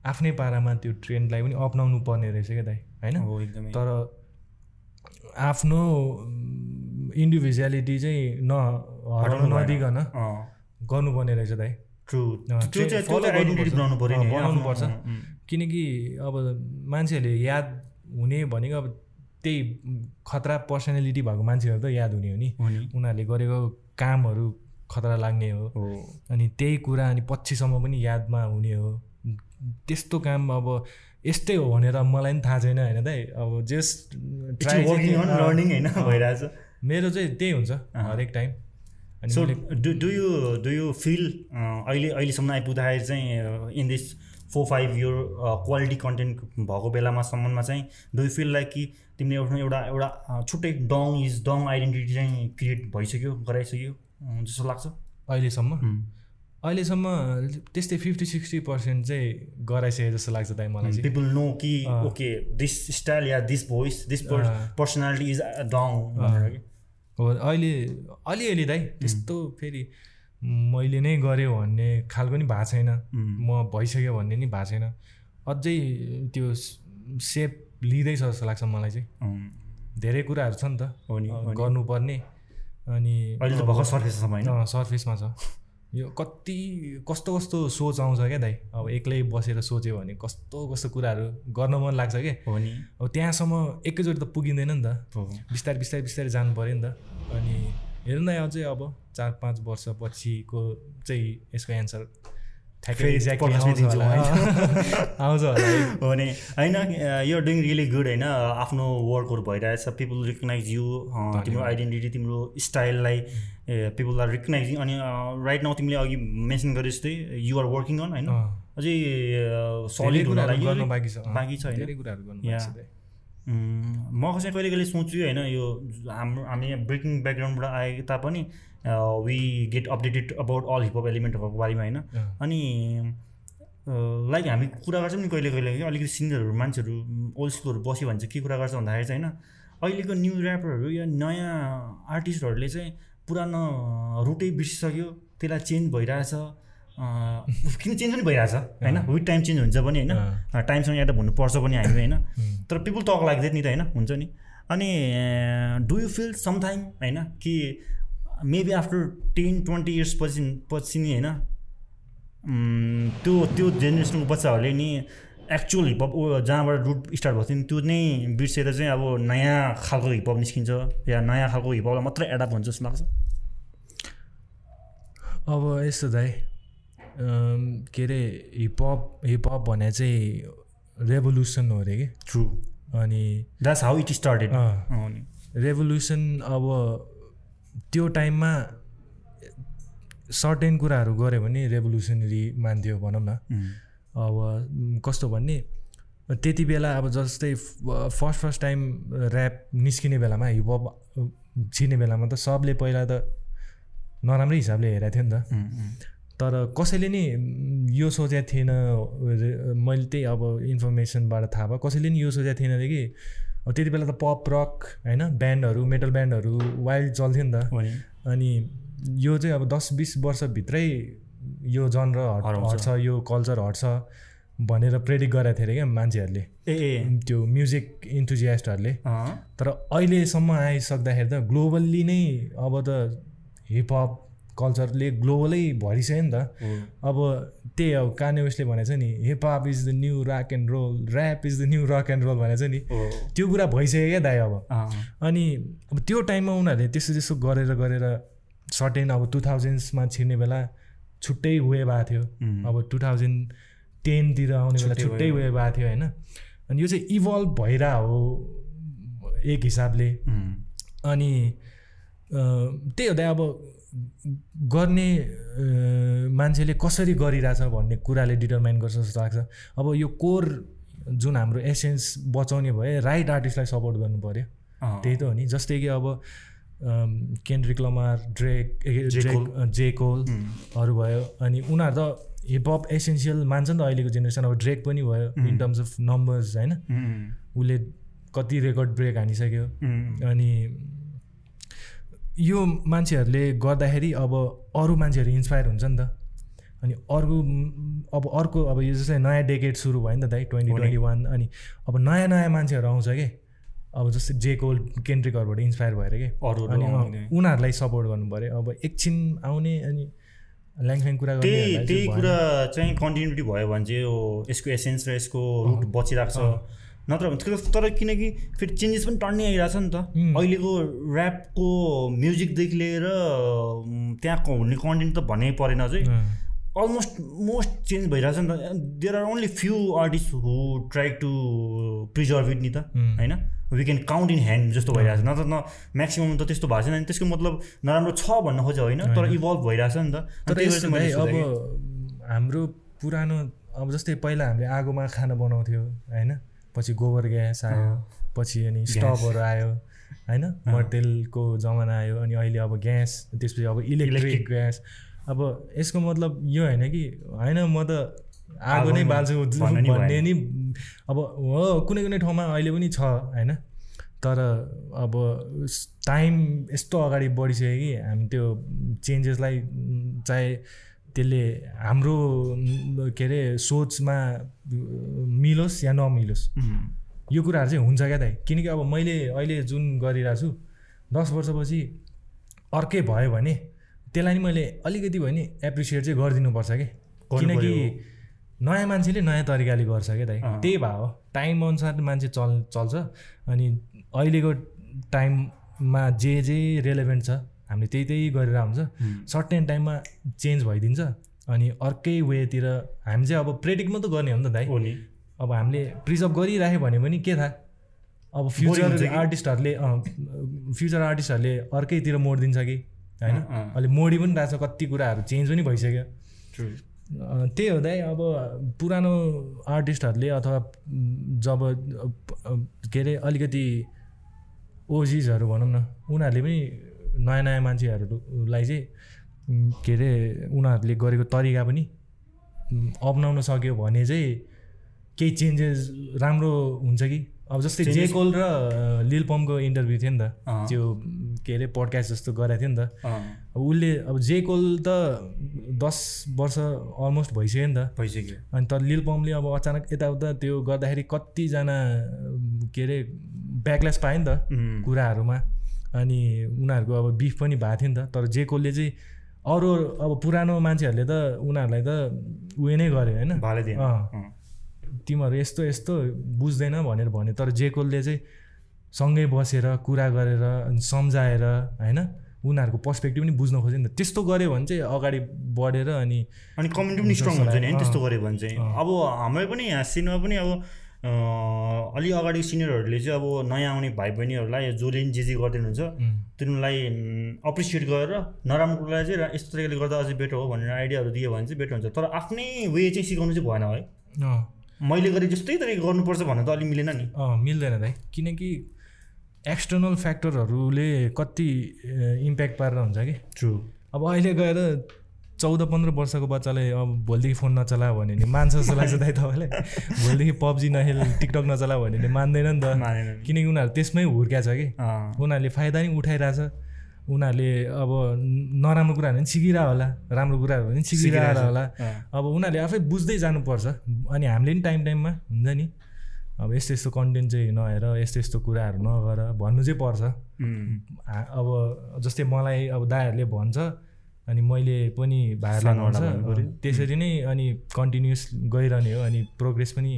[SPEAKER 2] आफ्नै पारामा त्यो ट्रेन्डलाई पनि अप्नाउनु पर्ने रहेछ क्या दाइ होइन
[SPEAKER 1] हो एकदमै
[SPEAKER 2] तर आफ्नो इन्डिभिजुअलिटी चाहिँ न हराउनु
[SPEAKER 1] हटाउनु भएन।
[SPEAKER 2] नदिकन
[SPEAKER 1] अँ,
[SPEAKER 2] गर्नुपर्ने रहेछ दाइ
[SPEAKER 1] ट्रु
[SPEAKER 2] अँ,
[SPEAKER 1] त्यो
[SPEAKER 2] ट्रे-
[SPEAKER 1] चाहिँ त्यो
[SPEAKER 2] follow
[SPEAKER 1] चाहिँ आइडेन्टिटी
[SPEAKER 2] गर्नुपर्छ।
[SPEAKER 1] बनाउनु पऱ्यो नि
[SPEAKER 2] अँ,
[SPEAKER 1] होइन, आफ्नो-
[SPEAKER 2] बनाउनुपर्छ।
[SPEAKER 1] अँ, अँ,
[SPEAKER 2] किनकि अब मान्छेहरूले याद हुने भनेको अब त्यही खतरा पर्सनालिटी भएको मान्छेहरू त याद हुने हो नि
[SPEAKER 1] हो नि
[SPEAKER 2] उनीहरूले गरेको कामहरू खतरा लाग्ने हो
[SPEAKER 1] हो
[SPEAKER 2] अनि त्यही कुरा अनि पछिसम्म पनि यादमा हुने हो त्यस्तो काम अब यस्तै हो भनेर मलाई पनि थाहा छैन होइन दाइ अब just
[SPEAKER 1] It's working on learning होइन भइरहेछ
[SPEAKER 2] मेरो चाहिँ त्यही हुन्छ हरेक टाइम अनि
[SPEAKER 1] सो
[SPEAKER 2] मैले
[SPEAKER 1] do do you do you feel uh, अहिले अहिलेसम्म आइपुग्दाखेरि चाहिँ uh, in this four five year quality content uh, भएको बेलामासम्ममा चाहिँ डु यु फिल लाइक कि तिमीले एउटा एउटा एउटा अ, छुट्टै डङ इज डङ आइडेन्टिटी चाहिँ क्रिएट भइसक्यो गराइसक्यो अँ, जस्तो लाग्छ
[SPEAKER 2] अहिलेसम्म अहिलेसम्म त्यस्तै फिफ्टी सिक्सटी पर्सेन्ट चाहिँ गराइसकेको जस्तो लाग्छ दाइ मलाई चाहिँ
[SPEAKER 1] पिपल नो कि ओके दिस स्टाइल या this voice this personality is uh, Dong भनेर कि
[SPEAKER 2] हो अहिले अलिअलि दाइ त्यस्तो
[SPEAKER 1] Mm.
[SPEAKER 2] फेरि मैले नै गरेँ भन्ने खालको नि भएको छैन म भइसक्यो भन्ने नि भएको छैन अझै त्यो सेप लिँदैछ जस्तो लाग्छ मलाई चाहिँ
[SPEAKER 1] अँ,
[SPEAKER 2] धेरै कुराहरू छ नि त
[SPEAKER 1] हो नि हो नि।
[SPEAKER 2] गर्नुपर्ने अनि
[SPEAKER 1] अहिले त भर्खर सर्फेससम्म होइन
[SPEAKER 2] अँ, सर्फेसमा छ यो कति कस्तो कस्तो सोच आउँछ क्या दाइ अब एक्लै बसेर सोच्यो भने कस्तो कस्तो कुराहरू गर्न मन लाग्छ क्या
[SPEAKER 1] हो नि
[SPEAKER 2] अब त्यहाँसम्म एकैचोटि त पुगिँदैन नि त
[SPEAKER 1] हो।
[SPEAKER 2] बिस्तारै बिस्तारै बिस्तारै जानु पऱ्यो नि त अनि हेरौँ न अझै अब चार पाँच वर्षपछिको चाहिँ यसको एन्सर ठ्याक्कै
[SPEAKER 1] फेरि
[SPEAKER 2] exactly
[SPEAKER 1] podcast
[SPEAKER 2] आउँछ
[SPEAKER 1] दिन्छौँ,
[SPEAKER 2] होला <laughs> आउँछ होला
[SPEAKER 1] <laughs> हो नि होइन यो डुइङ रियली गुड होइन आफ्नो वर्कहरू भइरहेछ पिपल रिकगनाइज यु तिम्रो आइडेन्टिटी तिम्रो स्टाइललाई पिपल आर रिकगनाइजिङ अनि राइट नाउ तिमीले अघि मेन्सन गरे जस्तै युआर वर्किङ अन होइन
[SPEAKER 2] अँ,
[SPEAKER 1] अझै
[SPEAKER 2] धेरै
[SPEAKER 1] सलिड हुन
[SPEAKER 2] कुराहरू
[SPEAKER 1] लागि
[SPEAKER 2] गर्नु
[SPEAKER 1] अझै
[SPEAKER 2] बाँकी छ अँ,
[SPEAKER 1] बाँकी छ होइन
[SPEAKER 2] धेरै कुराहरू गर्नु
[SPEAKER 1] या।
[SPEAKER 2] बाँकी छ त्यही।
[SPEAKER 1] उम्, म चाहिँ कहिले कहिले सोच्छु होइन यो हाम्रो हामी ब्रेकिङ ब्याकग्राउन्डबाट आए तापनि we get updated about all hip hop एलिमेन्टहरूको बारेमा होइन
[SPEAKER 2] अँ,
[SPEAKER 1] अनि लाइक हामी कुरा गर्छौँ नि कहिले कहिले कि अलिकति सिङ्गरहरू मान्छेहरू ओल्ड स्कुलहरू बस्यो भने चाहिँ के कुरा गर्छ भन्दाखेरि चाहिँ होइन अहिलेको न्यु ऱ्यापरहरू या नयाँ आर्टिस्टहरूले चाहिँ पुरानो रुटै बिर्सिसक्यो त्यसलाई चेन्ज भइरहेछ अँ, किन चेन्ज पनि भइरहेछ होइन विथ टाइम चेन्ज हुन्छ पनि होइन अँ, टाइमसँग यहाँ त भन्नुपर्छ पनि हामी होइन तर पिपुल टक लाग्दैन नि त होइन हुन्छ नि अनि डु यु फिल समथाइम होइन कि maybe after ten twenty years पछि पछि नि होइन उम्, त्यो त्यो जेनेरेसनको बच्चाहरूले नि एक्चुअल हिपहप ऊ जहाँबाट रुट स्टार्ट भएको थियो नि त्यो नै बिर्सेर चाहिँ अब नयाँ खालको हिपहप निस्किन्छ या नयाँ खालको हिपहपलाई मात्रै एडप्ट हुन्छ जस्तो लाग्छ
[SPEAKER 2] अब यस्तो दाइ अम, के अरे हिपहप हिपहप भने चाहिँ रेभोल्युसन हो अरे कि
[SPEAKER 1] ट्रु
[SPEAKER 2] अनि
[SPEAKER 1] द्याट्स हाउ इट स्टार्टेड
[SPEAKER 2] अँ, रेभोल्युसन अब त्यो टाइममा सर्टेन कुराहरू गऱ्यो भने रेभोल्युसनरी मान्थ्यो भनौँ न अब म, कस्तो भन्ने त्यति बेला अब जस्तै फर्स्ट फर्स्ट टाइम ऱ्याप निस्किने बेलामा हिपहप छिर्ने बेलामा त सबले पहिला त नराम्रै हिसाबले हेरेको थियो नि त तर कसैले नि म, यो सोचेको थिएन रे- मैले त्यही अब इन्फर्मेसनबाट थाहा भयो कसैले नि यो सोचेको थिएन अरे कि अब त्यति बेला त पप रक होइन ब्यान्डहरू मेटल ब्यान्डहरू वाइल्ड चल्थ्यो नि त
[SPEAKER 1] हो नि
[SPEAKER 2] अनि यो चाहिँ अब दस बिस वर्षभित्रै यो जनर हट
[SPEAKER 1] हराउँछ।
[SPEAKER 2] हट्छ यो कल्चर हट्छ भनेर प्रेडिक्ट गराएको थियो अरे क्या मान्छेहरूले
[SPEAKER 1] ए ए
[SPEAKER 2] त्यो म्युजिक इन्थुजियास्टहरूले
[SPEAKER 1] अँ,
[SPEAKER 2] तर अहिलेसम्म आइसक्दाखेरि त ग्लोबल्ली नै अब त हिपहप कल्चरले ग्लोबलै भरिसक्यो नि त
[SPEAKER 1] हो।
[SPEAKER 2] अब त्यही अब काने उसले भनेको छ नि hip hop is the new rock and roll rap is the new rock and roll भनेको छ नि
[SPEAKER 1] हो।
[SPEAKER 2] त्यो कुरा भइसक्यो क्या दाइ अब
[SPEAKER 1] अँ,
[SPEAKER 2] अनि अब त्यो टाइममा उनीहरूले त्यस्तो त्यस्तो गरेर गरेर सर्टेन अब टु थाउजन्ड्समा छिर्ने बेला छुट्टै वे भएको थियो
[SPEAKER 1] उम्,
[SPEAKER 2] अब टु थाउजन्ड टेनतिर आउने बेला
[SPEAKER 1] छुट्टै
[SPEAKER 2] छुट्टै वे भएको थियो होइन अनि यो चाहिँ इभल्भ भइरह हो एक हिसाबले
[SPEAKER 1] उम्,
[SPEAKER 2] अनि अ, त्यही हुँदा अब गर्ने अ, मान्छेले कसरी गरिरहेछ भन्ने कुराले डिटर्माइन गर्छ जस्तो लाग्छ अब यो कोर जुन हाम्रो एसेन्स बचाउने भए राइट आर्टिस्टलाई सपोर्ट गर्नु पऱ्यो
[SPEAKER 1] अँ,
[SPEAKER 2] त्यही त हो नि जस्तै कि अब अम, Kendrick Lamar Drake uh,
[SPEAKER 1] J
[SPEAKER 2] Drake
[SPEAKER 1] Cole.
[SPEAKER 2] Uh, J कोलहरू भयो अनि उनीहरू त हिपहप एसेन्सियल मान्छ नि त अहिलेको जेनेरेसन अब ड्रेक पनि भयो इन टर्म्स अफ नम्बर्स होइन
[SPEAKER 1] उम्,
[SPEAKER 2] उसले कति रेकर्ड ब्रेक हानिसक्यो
[SPEAKER 1] उम्,
[SPEAKER 2] अनि यो मान्छेहरूले गर्दाखेरि अब अरू मान्छेहरू इन्सपायर हुन्छ नि त अनि अर्को म- अब अर्को अब यो जस्तै नयाँ डेकेट सुरु भयो नि त दाइ ट्वेन्टी ट्वेन्टी वान अनि अब नयाँ नयाँ मान्छेहरू आउँछ के अब जस्तै जे कोल केन्ट्रिकहरूबाट इन्सपायर भएर के
[SPEAKER 1] अरूहरू
[SPEAKER 2] अनि अँ,
[SPEAKER 1] आउने।
[SPEAKER 2] उनीहरूलाई सपोर्ट गर्नु पऱ्यो अब एकछिन आउने अनि ल्याङफ्याङ कुरा
[SPEAKER 1] त्यही
[SPEAKER 2] गर्नेहरूलाई
[SPEAKER 1] त्यही
[SPEAKER 2] चाहिँ भएन।
[SPEAKER 1] कुरा चाहिँ कन्टिन्युटी भयो भने चाहिँ यो यसको एसेन्स र यसको रुट बचिरहेको छ नत्र भने त्यो- तर किनकि फेरि चेन्जेस पनि टन्नै आइरहेको छ नि त
[SPEAKER 2] उम्.
[SPEAKER 1] अहिलेको ऱ्यापको म्युजिकदेखि लिएर उम्, त्यहाँको हुने कन्टेन्ट त भन्नै परेन अझै
[SPEAKER 2] अँ,
[SPEAKER 1] अलमोस्ट मोस्ट चेन्ज भइरहेछ नि त there are only few artist who try to preserve it नि त
[SPEAKER 2] Mm.
[SPEAKER 1] होइन we can count in hand जस्तो भइरहेछ न त न म्याक्सिमम् त त्यस्तो भएको छैन नि त्यसको मतलब नराम्रो छ भन्न खोजे होइन तर इभल्भ भइरहेछ नि त अनि
[SPEAKER 2] तर
[SPEAKER 1] त्यही भएर
[SPEAKER 2] यस्तो
[SPEAKER 1] चाहिँ मैले
[SPEAKER 2] भाइ अब
[SPEAKER 1] सोधेँ
[SPEAKER 2] हाम्रो पुरानो अब जस्तै पहिला हामीले आगोमा खाना बनाउँथ्यो होइन पछि गोबर ग्यास आयो पछि अनि स्टोभहरू आयो होइन मट्टेलको जमाना आयो अनि अहिले अब ग्यास त्यसपछि अब इलेक्ट्रिक ग्यास अब यसको मतलब यो होइन कि होइन म त आगो नै
[SPEAKER 1] आगोमा
[SPEAKER 2] बाल्छु
[SPEAKER 1] भन्न नि
[SPEAKER 2] भन्ने नि अब हो कुनै कुनै ठाउँमा अहिले पनि छ होइन तर अब टाइम यस्तो अगाडि बढिसक्यो कि हामी त्यो चेन्जेसलाई चाहे त्यसले हाम्रो म, के अरे सोचमा म, मिलोस् या नमिलोस्
[SPEAKER 1] उम्,
[SPEAKER 2] यो कुराहरू चाहिँ हुन्छ क्या दाइ किनकि अब मैले अहिले जुन गरिरहेको छु दस वर्षपछि अर्कै भयो भने त्यसलाई नि मैले अलिकति भयो नि एप्रिसिएट चाहिँ गरिदिनुपर्छ कि
[SPEAKER 1] गर्नु
[SPEAKER 2] किनकि
[SPEAKER 1] पऱ्यो।
[SPEAKER 2] नयाँ मान्छेले नयाँ तरिकाले गर्छ क्या दाइ
[SPEAKER 1] अँ।
[SPEAKER 2] त्यही भए हो टाइम अनुसार मान्छे चल चल्छ अनि अहिलेको टाइममा जे जे रेलेभेन्ट छ हामीले त्यही त्यही गरेर हुन्छ सर्टेन टाइममा चेन्ज भइदिन्छ अनि अर्कै वेतिर हामी चाहिँ अब प्रेडिक्ट मात्रै गर्ने हो नि त दाइ
[SPEAKER 1] हो नि
[SPEAKER 2] अब हामीले प्रिजर्भ गरिराख्यो भने पनि के थाहा अब
[SPEAKER 1] हुन्छ
[SPEAKER 2] फ्युचर
[SPEAKER 1] कि?
[SPEAKER 2] आर्टिस्टहरूले अँ, फ्युचर आर्टिस्टहरूले अर्कैतिर मोडिदिन्छ कि होइन
[SPEAKER 1] अँ, अँ।
[SPEAKER 2] अहिले मोडी पनि रहेछ कति कुराहरू चेन्ज पनि भइसक्यो अँ, त्यही हुँदै अब पुरानो आर्टिस्टहरूले अथवा म, जब अ, के अरे अलिकति ओजिजहरू भनौँ न उनीहरूले पनि नयाँ नयाँ मान्छेहरूलाई चाहिँ म, के अरे उनीहरूले गरेको तरिका पनि म, अप्नाउन सक्यो भने चाहिँ केही चेन्जेस राम्रो हुन्छ कि अब जस्तै जे
[SPEAKER 1] Changes-
[SPEAKER 2] कोल र अ, लिल पम्पको इन्टरभ्यू थियो नि त
[SPEAKER 1] अँ।
[SPEAKER 2] त्यो म, के अरे पडकास्ट जस्तो गरेको थियो नि त
[SPEAKER 1] अँ,
[SPEAKER 2] अब उसले अब जे कोल त दस वर्ष अलमोस्ट भइसक्यो नि त
[SPEAKER 1] भइसक्यो
[SPEAKER 2] अनि तर लिल पम्पले अब अचानक यताउता त्यो गर्दाखेरि कतिजना अम, के अरे ब्याकल्यास पायो नि त
[SPEAKER 1] उम्,
[SPEAKER 2] कुराहरूमा अनि उनीहरूको अब बिफ पनि भएको थियो नि त तर जे कोलले चाहिँ अरू अब पुरानो मान्छेहरूले त उनीहरूलाई त उयो नै गर्यो होइन
[SPEAKER 1] भाले दिएन
[SPEAKER 2] अँ।
[SPEAKER 1] अँ,
[SPEAKER 2] तिमीहरू यस्तो यस्तो बुझ्दैन भनेर भन्यो तर जे कोलले चाहिँ सँगै बसेर कुरा गरेर अनि सम्झाएर होइन उनीहरूको पर्सपेक्टिभ पनि बुझ्न खोज्यो नि त त्यस्तो गऱ्यो भने चाहिँ अगाडि बढेर अनि
[SPEAKER 1] अनि कमेन्ट पनि स्ट्रङ हुन्छ नि होइन त्यस्तो गऱ्यो भने चाहिँ अब हाम्रो पनि यहाँ सिनियर पनि अब अँ, अलि अगाडि सिनियरहरूले चाहिँ अब नयाँ आउने भाइ बहिनीहरूलाई जसले नि जे जे गरिदिनु हुन्छ
[SPEAKER 2] उम्,
[SPEAKER 1] तिनीहरूलाई अप्रिसिएट गरेर नराम्रो कुरालाई चाहिँ रा- यस्तो तरिकाले गर्दा अझै बेटर हो भनेर आइडियाहरू दियो भने चाहिँ बेटर हुन्छ तर आफ्नै वे चाहिँ सिकाउनु चाहिँ भएन है
[SPEAKER 2] अँ
[SPEAKER 1] मैले गरेँ जस्तै तरिका गर्नुपर्छ भन्नु त अलिक मिलेन नि
[SPEAKER 2] अँ मिल्दैन दाइ किनकि एक्सटर्नल फ्याक्टरहरूले कति इम्प्याक्ट पारेर हुन्छ कि
[SPEAKER 1] ट्रु
[SPEAKER 2] अब अहिले गएर चौध पन्ध्र वर्षको बच्चाले अब भोलिदेखि फोन नचला भन्यो भने मान्छ जस्तो लाग्छ दाइ तपाईँलाई भोलिदेखि पब्जी नखेल टिकटक नचला भन्यो भने मान्दैन नि त
[SPEAKER 1] मानेन नि।
[SPEAKER 2] किनकि उनीहरू त्यसमै हुर्क्या छ कि
[SPEAKER 1] अँ,
[SPEAKER 2] उनीहरूले फाइदा नि उठाइरहेछ उनीहरूले अब नराम्रो कुराहरू पनि सिकिरह होला राम्रो कुराहरू पनि सिकिरह होला अब उनीहरूले आफै बुझ्दै जानुपर्छ अनि हामीले पनि टाइम टाइममा हुन्छ नि अब यस्तो यस्तो कन्टेन्ट चाहिँ नहेर यस्तो यस्तो कुराहरू नगर भन्नु चाहिँ पर्छ अब जस्तै मलाई अब दाहरूले भन्छ अनि मैले पनि भाइहरूलाई भन्छ त्यसरी नै अनि कन्टिन्युस गइरहने हो अनि प्रोग्रेस पनि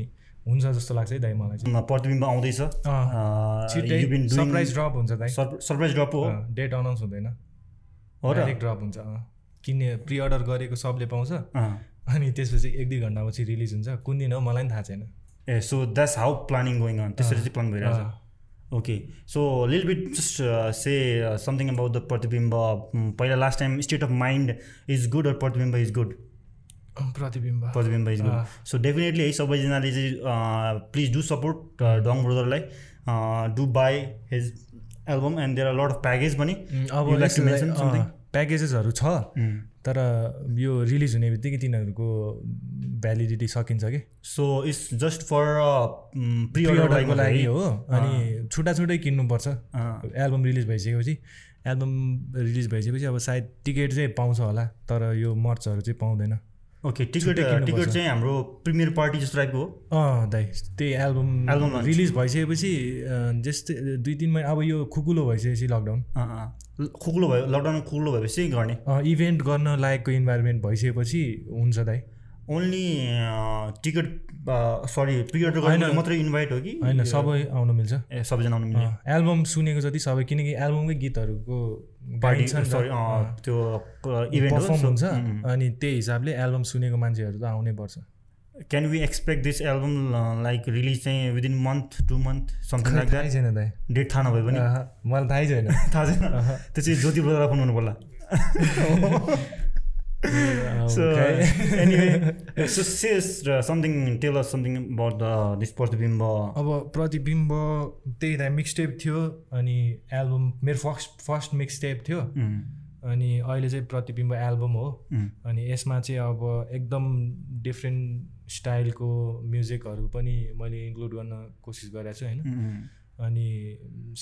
[SPEAKER 2] हुन्छ जस्तो लाग्छ है दाइ मलाई
[SPEAKER 1] चाहिँ प्रतिबिम्ब आउँदैछ
[SPEAKER 2] छिट्टै सरप्राइज ड्रप हुन्छ दाइ
[SPEAKER 1] सरप्राइज ड्रप हो
[SPEAKER 2] डेट अनाउन्स हुँदैन हो र ड्रप हुन्छ किन्ने प्रि अर्डर गरेको सबले पाउँछ अनि त्यसपछि एक दुई घन्टापछि रिलिज हुन्छ कुन दिन हो मलाई पनि थाहा छैन
[SPEAKER 1] uh so that's how planning going on त्यसरी चाहिँ प्लान भइरहेछ okay so lil bit just say something about the Pratibimba Mm, पहिला last time state of mind is good or Pratibimba is good
[SPEAKER 2] Pratibimba
[SPEAKER 1] Pratibimba is good so definitely है सबैजनाले चाहिँ uh, please do support Dong ब्रोदरलाई do buy his album and there are lot of package पनि
[SPEAKER 2] Mm. अब प्याकेजेसहरू छ
[SPEAKER 1] Mm.
[SPEAKER 2] तर यो रिलिज हुने बित्तिकै तिनीहरूको भ्यालिडिटी सकिन्छ कि
[SPEAKER 1] so it's just for mm,
[SPEAKER 2] प्रि अर्डरको लागि हो अनि छुट्टा छुट्टै किन्नुपर्छ एल्बम रिलिज भइसकेपछि एल्बम रिलिज भइसकेपछि अब सायद टिकट चाहिँ पाउँछ होला तर यो मर्चहरू चाहिँ पाउँदैन
[SPEAKER 1] ओके टिकट टिकट चाहिँ हाम्रो प्रिमियर पार्टी जस्तो टाइपको
[SPEAKER 2] हो अँ दाइ त्यही एल्बम एल्बम रिलिज भइसकेपछि जस्तै दुई तिन महिना अब यो खुकुलो भइसकेपछि लकडाउन
[SPEAKER 1] खुकुलो भयो लकडाउन खुकुलो भएपछि गर्ने
[SPEAKER 2] इभेन्ट गर्न लायकको इन्भाइरोमेन्ट भइसकेपछि हुन्छ दाइ
[SPEAKER 1] ओन्ली टिकट सरी प्रियर गर्न मात्रै इन्भाइट हो कि
[SPEAKER 2] होइन सबै आउनु मिल्छ
[SPEAKER 1] ए सबैजना आउनु मिल्छ
[SPEAKER 2] एल्बम सुनेको जति सबै किनकि एल्बमकै गीतहरूको
[SPEAKER 1] पार्टी सरी त्यो इभेन्ट
[SPEAKER 2] पर्फर्म हुन्छ
[SPEAKER 1] mm,
[SPEAKER 2] अनि त्यही हिसाबले एल्बम सुनेको मान्छेहरू त आउनै पर्छ
[SPEAKER 1] can we expect this album like release uh, चाहिँ within month to month something like
[SPEAKER 2] थाहै छैन दाइ
[SPEAKER 1] डेट थाहा नभए पनि
[SPEAKER 2] मलाई थाहै छैन
[SPEAKER 1] <laughs> थाहा छैन त्यो चाहिँ ज्योति ब्रदरलाई फोन गर्नु पर्ला <laughs> so anyway <laughs> so say uh, something tell us something about the this प्रतिबिम्ब
[SPEAKER 2] अब प्रतिबिम्ब त्यही त मिक्सटेप थियो अनि एल्बम मेरो फर्स्ट फर्स्ट मिक्सटेप थियो अनि अहिले चाहिँ प्रतिबिम्ब एल्बम हो अनि यसमा चाहिँ अब एकदम डिफ्रेन्ट स्टाइलको म्युजिकहरू पनि मैले इन्क्लुड गर्न कोसिस गरेको छु होइन अनि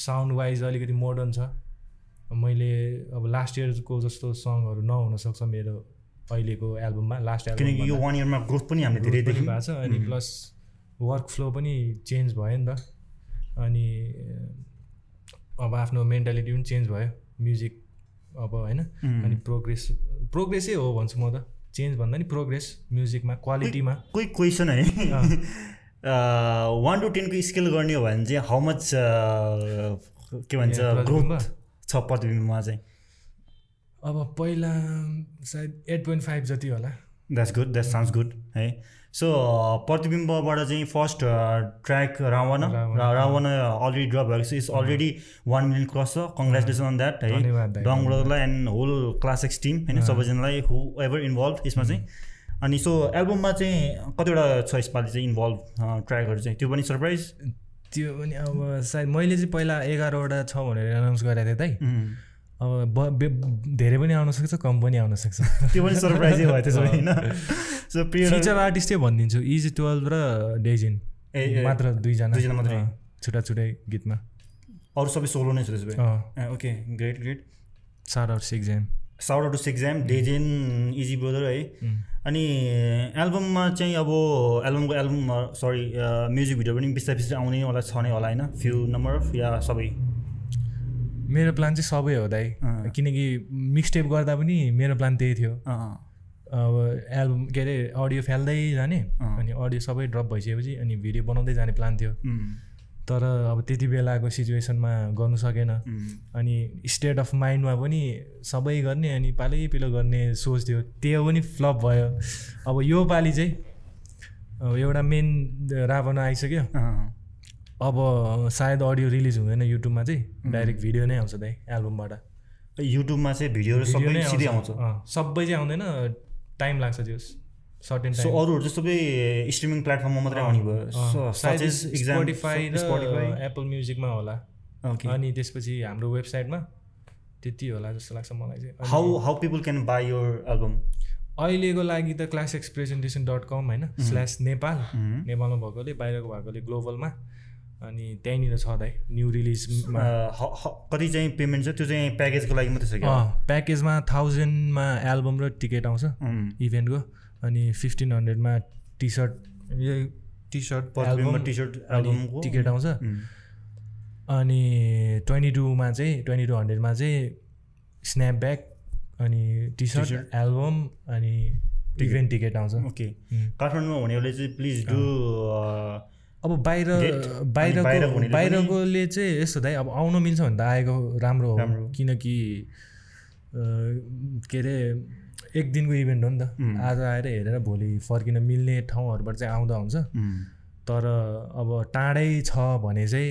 [SPEAKER 2] साउन्ड वाइज अलिकति मोडर्न छ मैले अब लास्ट इयरको जस्तो सङ्गहरू नहुनसक्छ मेरो अहिलेको एल्बममा लास्ट एल्बम
[SPEAKER 1] किनकि यो वान इयरमा ग्रोथ पनि हामीले धेरै
[SPEAKER 2] देख्नु भएको छ अनि प्लस वर्क फ्लो पनि चेन्ज भयो नि त अनि अब आफ्नो मेन्टालिटी पनि चेन्ज भयो म्युजिक अब होइन अनि प्रोग्रेस प्रोग्रेसै हो भन्छु म त चेन्ज भन्दा नि प्रोग्रेस म्युजिकमा क्वालिटीमा
[SPEAKER 1] कोही क्वेसन है <laughs> वान टु टेनको स्केल गर्ने हो भने चाहिँ हाउ मच के भन्छ ग्रोथ छ प्रतिबिम्बमा चाहिँ
[SPEAKER 2] अब पहिला सायद एट पोइन्ट फाइभ जति होला
[SPEAKER 1] that's good that sounds good है सो uh, प्रतिबिम्बबाट चाहिँ first track Ravan Ravan already drop भएको छ it's already one million cross छ कङ्ग्रेचुलेसन अन द्याट है डङ ब्रदरलाई and whole class X team होइन सबैजनालाई हु एभर इन्भल्भ यसमा चाहिँ अनि सो एल्बममा चाहिँ कतिवटा छ यसपालि चाहिँ इन्भल्भ ट्र्याकहरू चाहिँ त्यो पनि सरप्राइज
[SPEAKER 2] त्यो पनि अब सायद मैले चाहिँ पहिला एघारवटा छ भनेर एनाउन्स गरेको थिएँ दाइ अब धेरै पनि आउनसक्छ कम पनि आउनसक्छ <laughs>
[SPEAKER 1] त्यो पनि सरप्राइजै भयो त्यसो होइन
[SPEAKER 2] सो फिचर आर्टिस्टै भनिदिन्छु इज टुवेल्भ र डेजिन मात्र दुईजना
[SPEAKER 1] दुईजना मात्रै
[SPEAKER 2] छुट्टा छुट्टै गीतमा
[SPEAKER 1] अरू सबै सोलो नै छ त्यसो भए okay great great
[SPEAKER 2] shout out six M
[SPEAKER 1] shout out six M डेजेन इजी ब्रोदर है अनि एल्बममा चाहिँ अब एल्बमको album sorry music video eh, पनि बिस्तारै बिस्तारै आउनेवाला छ नै होला होइन फ्यु नम्बर अफ या सबै
[SPEAKER 2] मेरो प्लान चाहिँ सबै हो दाइ किनकि मिक्सटेप गर्दा पनि मेरो प्लान त्यही थियो अब एल्बम के अरे अडियो फाल्दै जाने अनि अडियो सबै ड्रप भइसकेपछि अनि भिडियो बनाउँदै जाने प्लान थियो तर अब त्यति बेलाको सिचुएसनमा गर्नु सकेन अनि स्टेट अफ माइन्डमा पनि सबै गर्ने अनि पालै पिलो गर्ने सोच थियो त्यो पनि फ्लप भयो अब यो पालि चाहिँ अब एउटा मेन रावण आइसक्यो अब सायद अडियो रिलिज हुँदैन युट्युबमा चाहिँ डाइरेक्ट भिडियो नै आउँछ दाइ एल्बमबाट
[SPEAKER 1] युट्युबमा चाहिँ भिडियोहरू सबै सिधै आउँछ
[SPEAKER 2] सबै चाहिँ आउँदैन टाइम लाग्छ त्यो सर्ट एन्ड
[SPEAKER 1] सो अरूहरू चाहिँ सबै स्ट्रिमिङ प्लेटफर्ममा मात्रै आउने भयो
[SPEAKER 2] स्पोटिफाई र एप्पल म्युजिकमा होला अनि त्यसपछि हाम्रो वेबसाइटमा त्यति होला जस्तो लाग्छ मलाई चाहिँ
[SPEAKER 1] how how people can buy your album
[SPEAKER 2] अहिलेको लागि त class
[SPEAKER 1] Mm-hmm.
[SPEAKER 2] X presentation dot com होइन स्ल्यास नेपाल नेपालमा भएकोले बाहिरको भएकोले ग्लोबलमा अनि त्यहीँनिर छ दाइ न्यु रिलिजमा
[SPEAKER 1] ह- ह- कति चाहिँ पेमेन्ट छ त्यो चाहिँ प्याकेजको लागि मात्रै छ क्या
[SPEAKER 2] प्याकेजमा थाउजन्डमा एल्बम र टिकट आउँछ
[SPEAKER 1] अँ।
[SPEAKER 2] इभेन्टको अनि फिफ्टिन हन्ड्रेडमा टी सर्ट यो T shirt
[SPEAKER 1] Per
[SPEAKER 2] album
[SPEAKER 1] member t-shirt,
[SPEAKER 2] अनि Mm.
[SPEAKER 1] album को।
[SPEAKER 2] टिकट आउँछ
[SPEAKER 1] उम्,
[SPEAKER 2] अनि ट्वेन्टी टूमा चाहिँ ट्वेन्टी टू हन्ड्रेडमा चाहिँ स्न्यापब्याग अनि टी सर्ट एल्बम अनि इभेन्ट टिकट आउँछ
[SPEAKER 1] ओके
[SPEAKER 2] उम्।
[SPEAKER 1] काठमाडौँमा हुनेहरूले चाहिँ प्लिज डु अँ,
[SPEAKER 2] अब बाहिर
[SPEAKER 1] Date अनि बाहिरको
[SPEAKER 2] बाहिरको
[SPEAKER 1] हुनेले
[SPEAKER 2] बाहिरकोले चाहिँ यस्तो दाइ अब आउन मिल्छ भने त आएको राम्रो हो
[SPEAKER 1] राम्रो।
[SPEAKER 2] किनकि अ, के अरे एक दिनको इभेन्ट हो नि त आज आएर हेरेर भोलि फर्किन मिल्ने ठाउँहरूबाट चाहिँ आउँदा हुन्छ
[SPEAKER 1] उम्,
[SPEAKER 2] तर अब टाढै छ भने चाहिँ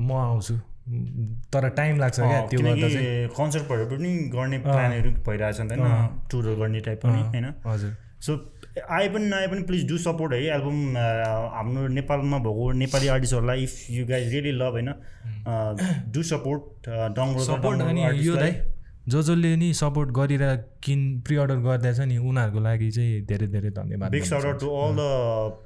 [SPEAKER 2] म आउँछु तर टाइम लाग्छ क्या
[SPEAKER 1] अँ,
[SPEAKER 2] त्यो गर्दा
[SPEAKER 1] किनकि
[SPEAKER 2] चाहिँ
[SPEAKER 1] कन्सर्टहरू पनि गर्ने प्लानहरू भइरहेको छ नि त होइन टुरहरू गर्ने टाइप पनि होइन
[SPEAKER 2] हजुर
[SPEAKER 1] सो आए पनि नआए पनि प्लिज डु सपोर्ट है एल्बम हाम्रो नेपालमा भएको नेपाली आर्टिस्टहरूलाई if you guys really love होइन डु सपोर्ट डङ्गो
[SPEAKER 2] सपोर्ट Mm. अनि यो दाइ जो जसले नि सपोर्ट गरेर किन प्रिअर्डर गर्दैछ नि उनीहरूको लागि चाहिँ धेरै धेरै धन्यवाद
[SPEAKER 1] big shout out to all
[SPEAKER 2] Mm.
[SPEAKER 1] The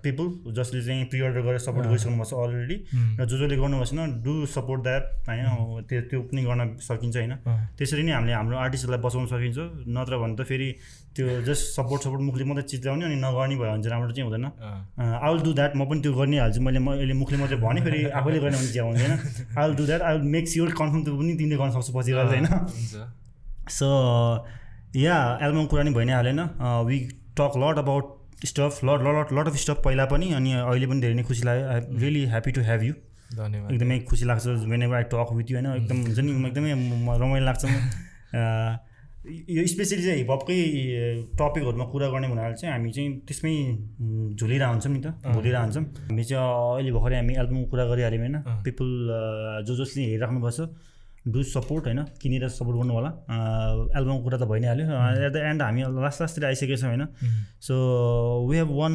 [SPEAKER 1] people जसले चाहिँ प्रि अर्डर गरेर सपोर्ट गरिसक्नुभएको छ अलरेडी र जो जसले गर्नुभएको छैन डु सपोर्ट द्याट होइन अब त्यो त्यो पनि गर्न सकिन्छ होइन
[SPEAKER 2] अँ।
[SPEAKER 1] त्यसरी नै हामीले हाम्रो आर्टिस्टहरूलाई बचाउन सकिन्छ नत्र भने त फेरि त्यो जस्ट सपोर्ट सपोर्ट मुखले मात्रै चित्लाउने अनि नगर्ने भयो भने चाहिँ राम्रो चाहिँ हुँदैन आई विल डु द्याट म पनि त्यो गर्ने हाल्छु मैले म अहिले मुखले मात्रै भने फेरि आफैले गर्ने भने चिया हुँदैन I will do that I will make sure confirm त्यो पनि तिमीले गर्न सक्छौ पछि गर्दा होइन
[SPEAKER 2] हुन्छ
[SPEAKER 1] सो या एल्बम कुरा नि भइ नै हालेन we talk lot about stuff lot lot lot of stuff पहिला पनि अनि अहिले पनि धेरै नै खुसी लाग्यो I really happy to have you
[SPEAKER 2] धन्यवाद
[SPEAKER 1] एकदमै खुसी लाग्छ whenever I talk with you होइन एकदम हुन्छ नि म एकदमै म- रमाइलो लाग्छ म। अँ, यो स्पेसली चाहिँ हिपहपकै टपिकहरूमा कुरा गर्ने हुनाले चाहिँ हामी चाहिँ त्यसमै उम्, झुलिरह हुन्छौँ नि त भुलिरह हुन्छौँ हामी चाहिँ अँ, अहिले भर्खरै हामी एल्बमको कुरा गरिहाल्यौँ होइन पिपल जो जसले हेरिराख्नुपर्छ डु सपोर्ट होइन किनेर सपोर्ट गर्नु होला अँ, एल्बमको कुरा त भइ नै हाल्यो एट द एन्ड हामी लास्ट लास्टतिर आइसकेको छौँ होइन so we have one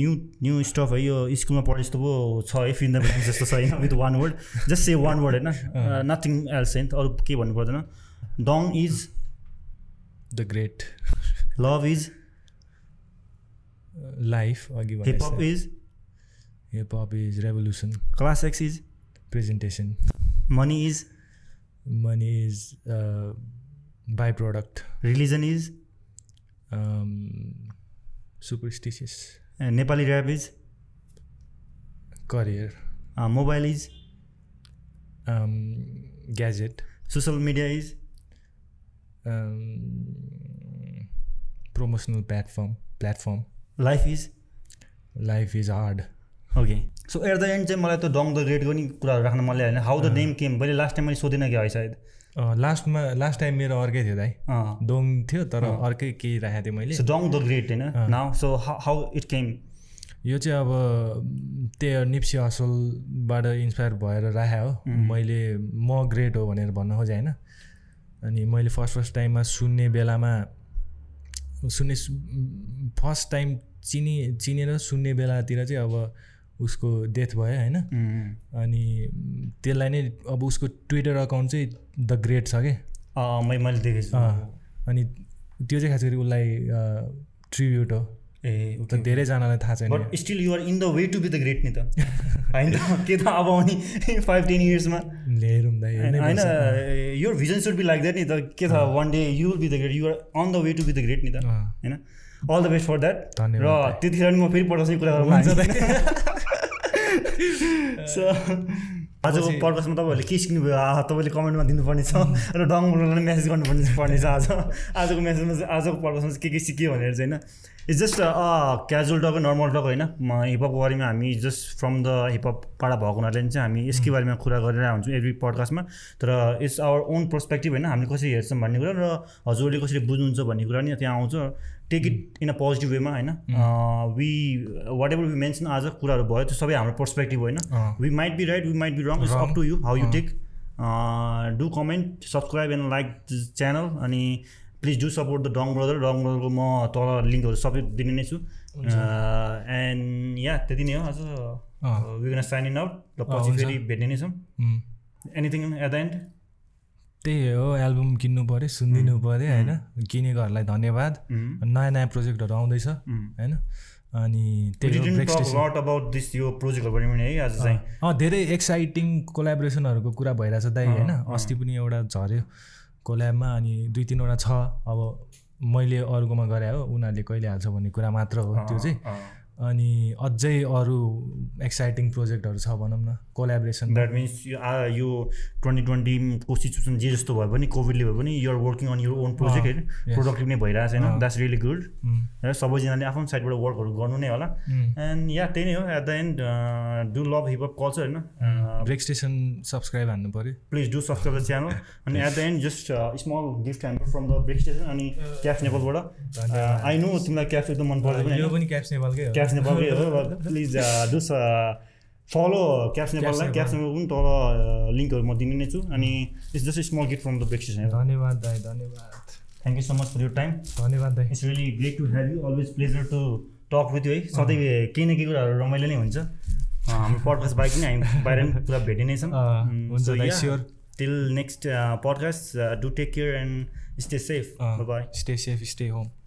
[SPEAKER 1] new new stuff है यो स्कुलमा पढे जस्तो पो छ है फिन द ब्ल्याङ्क जस्तो छ होइन with one word just say one word होइन Uh, नथिङ एल्स होइन अरू के भन्नु पर्दैन Dong is
[SPEAKER 2] the great
[SPEAKER 1] love is
[SPEAKER 2] life uh, अघि
[SPEAKER 1] hip hop is
[SPEAKER 2] hip hop is revolution
[SPEAKER 1] class X is
[SPEAKER 2] presentation
[SPEAKER 1] money is
[SPEAKER 2] money is uh, buy product
[SPEAKER 1] religion is
[SPEAKER 2] um, superstitious
[SPEAKER 1] Nepali rap is
[SPEAKER 2] career
[SPEAKER 1] mobile is
[SPEAKER 2] um, gadget
[SPEAKER 1] social media is
[SPEAKER 2] um, promotional platform platform
[SPEAKER 1] life is
[SPEAKER 2] life is hard
[SPEAKER 1] okay so at the end चाहिँ मलाई त डङ the ग्रेटको नि कुराहरू राख्न मन लाग्यो होइन how the name came मैले लास्ट टाइम मैले सोधेन क्या है सायद
[SPEAKER 2] Uh, लास्टमा लास्ट टाइम मेरो अर्कै थियो दाइ
[SPEAKER 1] अँ
[SPEAKER 2] दोङ थियो तर अर्कै केही राखेको थिएँ मैले
[SPEAKER 1] सो डङ द ग्रेट होइन now so how it came
[SPEAKER 2] यो चाहिँ अब म, त्यही निप्सी असलबाट इन्सपायर भएर राखेँ हो मैले म ग्रेट हो भनेर भन्न खोजेँ होइन अनि मैले फर्स्ट फर्स्ट टाइममा सुन्ने बेलामा सुन्ने फर्स्ट टाइम चिनि चिनेर सुन्ने बेलातिर चाहिँ अब उसको डेथ भयो होइन अनि त्यसलाई नै अब उसको ट्विटर अकाउन्ट चाहिँ द ग्रेट छ क्या
[SPEAKER 1] अँ, मै मैले देखेको छु
[SPEAKER 2] अँ, अनि त्यो चाहिँ खास गरी उसलाई ट्रिब्युट हो
[SPEAKER 1] ए
[SPEAKER 2] त धेरैजनालाई थाहा छैन
[SPEAKER 1] but still you're in the way to be the great <laughs> नि त होइन के त अब <laughs> आउने फाइभ टेन इयर्समा
[SPEAKER 2] ल्याएर हुँदा हेर्नै
[SPEAKER 1] होइन यो vision should be like that नि त के त one day you will be the great you're on the way to be the great नि त
[SPEAKER 2] अँ।
[SPEAKER 1] होइन all the best for that
[SPEAKER 2] धन्यवाद
[SPEAKER 1] र त्यतिखेर नि म फेरि पडकास्टै कुरा गरौँ <laughs> सो आजको पडकास्टमा तपाईँहरूले के सिक्नुभयो आहा, तपाईँले कमेन्टमा दिनुपर्नेछ र डङ ब्रोलाई मेसेज गर्नुपर्ने पर्नेछ आज आजको मेसेजमा चाहिँ आजको पडकास्टमा चाहिँ के के सिक्यो भनेर चाहिँ होइन it's just casual talk normal talk होइन म हिपहप बारेमा हामी जस्ट फ्रम द हिपहपबाट भएको हुनाले चाहिँ हामी यसकै बारेमा कुरा गरेर हुन्छौँ एभ्री पडकास्टमा तर इट्स आवर ओन पर्सपेक्टिभ होइन हामीले कसरी हेर्छौँ भन्ने कुरा र हजुरले कसरी बुझ्नुहुन्छ भन्ने कुरा नि त्यहाँ आउँछ take it in a positive वेमा होइन we whatever we mention आज कुराहरू भयो त्यो सबै हाम्रो पर्सपेक्टिभ होइन
[SPEAKER 2] अँ।
[SPEAKER 1] We might be right we might be wrong it's up to you how
[SPEAKER 2] Uh-huh.
[SPEAKER 1] You take do comment subscribe and like channel अनि please do support the Dong brother Dong ब्रदरको म तल लिङ्कहरू सबै दिने नै छु Uh, एन्ड या त्यति नै हो आज
[SPEAKER 2] अँ।
[SPEAKER 1] विन साइन इन आउट र
[SPEAKER 2] Oh,
[SPEAKER 1] पछि फेरि भेट्ने नै छौँ
[SPEAKER 2] उम्.
[SPEAKER 1] एनिथिङ एट द एन्ड
[SPEAKER 2] त्यही हो एल्बम किन्नु पऱ्यो सुनिदिनु पऱ्यो होइन किनेकोहरूलाई धन्यवाद नयाँ नयाँ प्रोजेक्टहरू आउँदैछ होइन अनि त्यही हो, Hmm. Break Station। Ah,
[SPEAKER 1] lot about this यो प्रोजेक्टहरूको बारेमा नि है आज चाहिँ
[SPEAKER 2] अँ धेरै एक्साइटिङ कोलाबोरेसनहरूको कुरा भइरहेछ दाइ होइन अस्ति पनि एउटा झऱ्यो कोल्याबमा अनि दुई तिनवटा छ अब मैले अरूकोमा गरे हो उनीहरूले कहिले हाल्छ भन्ने कुरा मात्र हो त्यो
[SPEAKER 1] Ah,
[SPEAKER 2] चाहिँ अनि अझै अरू एक्साइटिङ प्रोजेक्टहरू छ भनौँ न कोलाबोरेसन
[SPEAKER 1] द्याट मिन्स यो आ- यो ट्वेन्टी ट्वेन्टीको सिचुएसन जे जस्तो भए पनि कोभिडले भए पनि you're working on your own project होइन प्रोडक्टिभ नै भइरहेको छैन द्याट्स रियली गुड र सबैजनाले आफ्नो साइडबाट वर्कहरू गर्नु नै होला एन्ड या त्यही नै हो at the end do love hip hop culture होइन Uh,
[SPEAKER 2] ब्रेक स्टेसन सब्सक्राइब हान्नु पऱ्यो
[SPEAKER 1] please do subscribe the channel अनि at the end just small gift hamper from the break station अनि क्याफ नेपालबाट आई नो तिमीलाई क्याफ एकदम मन पर्छ पनि
[SPEAKER 2] यो
[SPEAKER 1] होइन?
[SPEAKER 2] पनि क्याप्स नेपालकै हो
[SPEAKER 1] क्याफ नेपालकै हो प्लिज डु uh, फलो क्याफ नेपाललाई क्याफ नेपाल पनि तल लिङ्कहरू म दिने नै छु अनि it's just small gift from the break station
[SPEAKER 2] <laughs> धन्यवाद दाइ धन्यवाद
[SPEAKER 1] thank you so much for your time
[SPEAKER 2] धन्यवाद
[SPEAKER 1] <laughs>
[SPEAKER 2] दाइ
[SPEAKER 1] it's really great to have you always pleasure to talk with you है
[SPEAKER 2] Mm-hmm.
[SPEAKER 1] सधैँ eh? uh, केही न केही कुराहरू रमाइलो नै हुन्छ अँ, हाम्रो पडकास्ट बाहेक नै हामी बाहिर पनि पुरा भेटि नै छौँ
[SPEAKER 2] <laughs>
[SPEAKER 1] Mm,
[SPEAKER 2] अँ, हुन्छ
[SPEAKER 1] So,
[SPEAKER 2] दाइ,
[SPEAKER 1] yeah,
[SPEAKER 2] sure.
[SPEAKER 1] till next uh, podcast uh, do take care and stay safe bye bye
[SPEAKER 2] stay safe stay home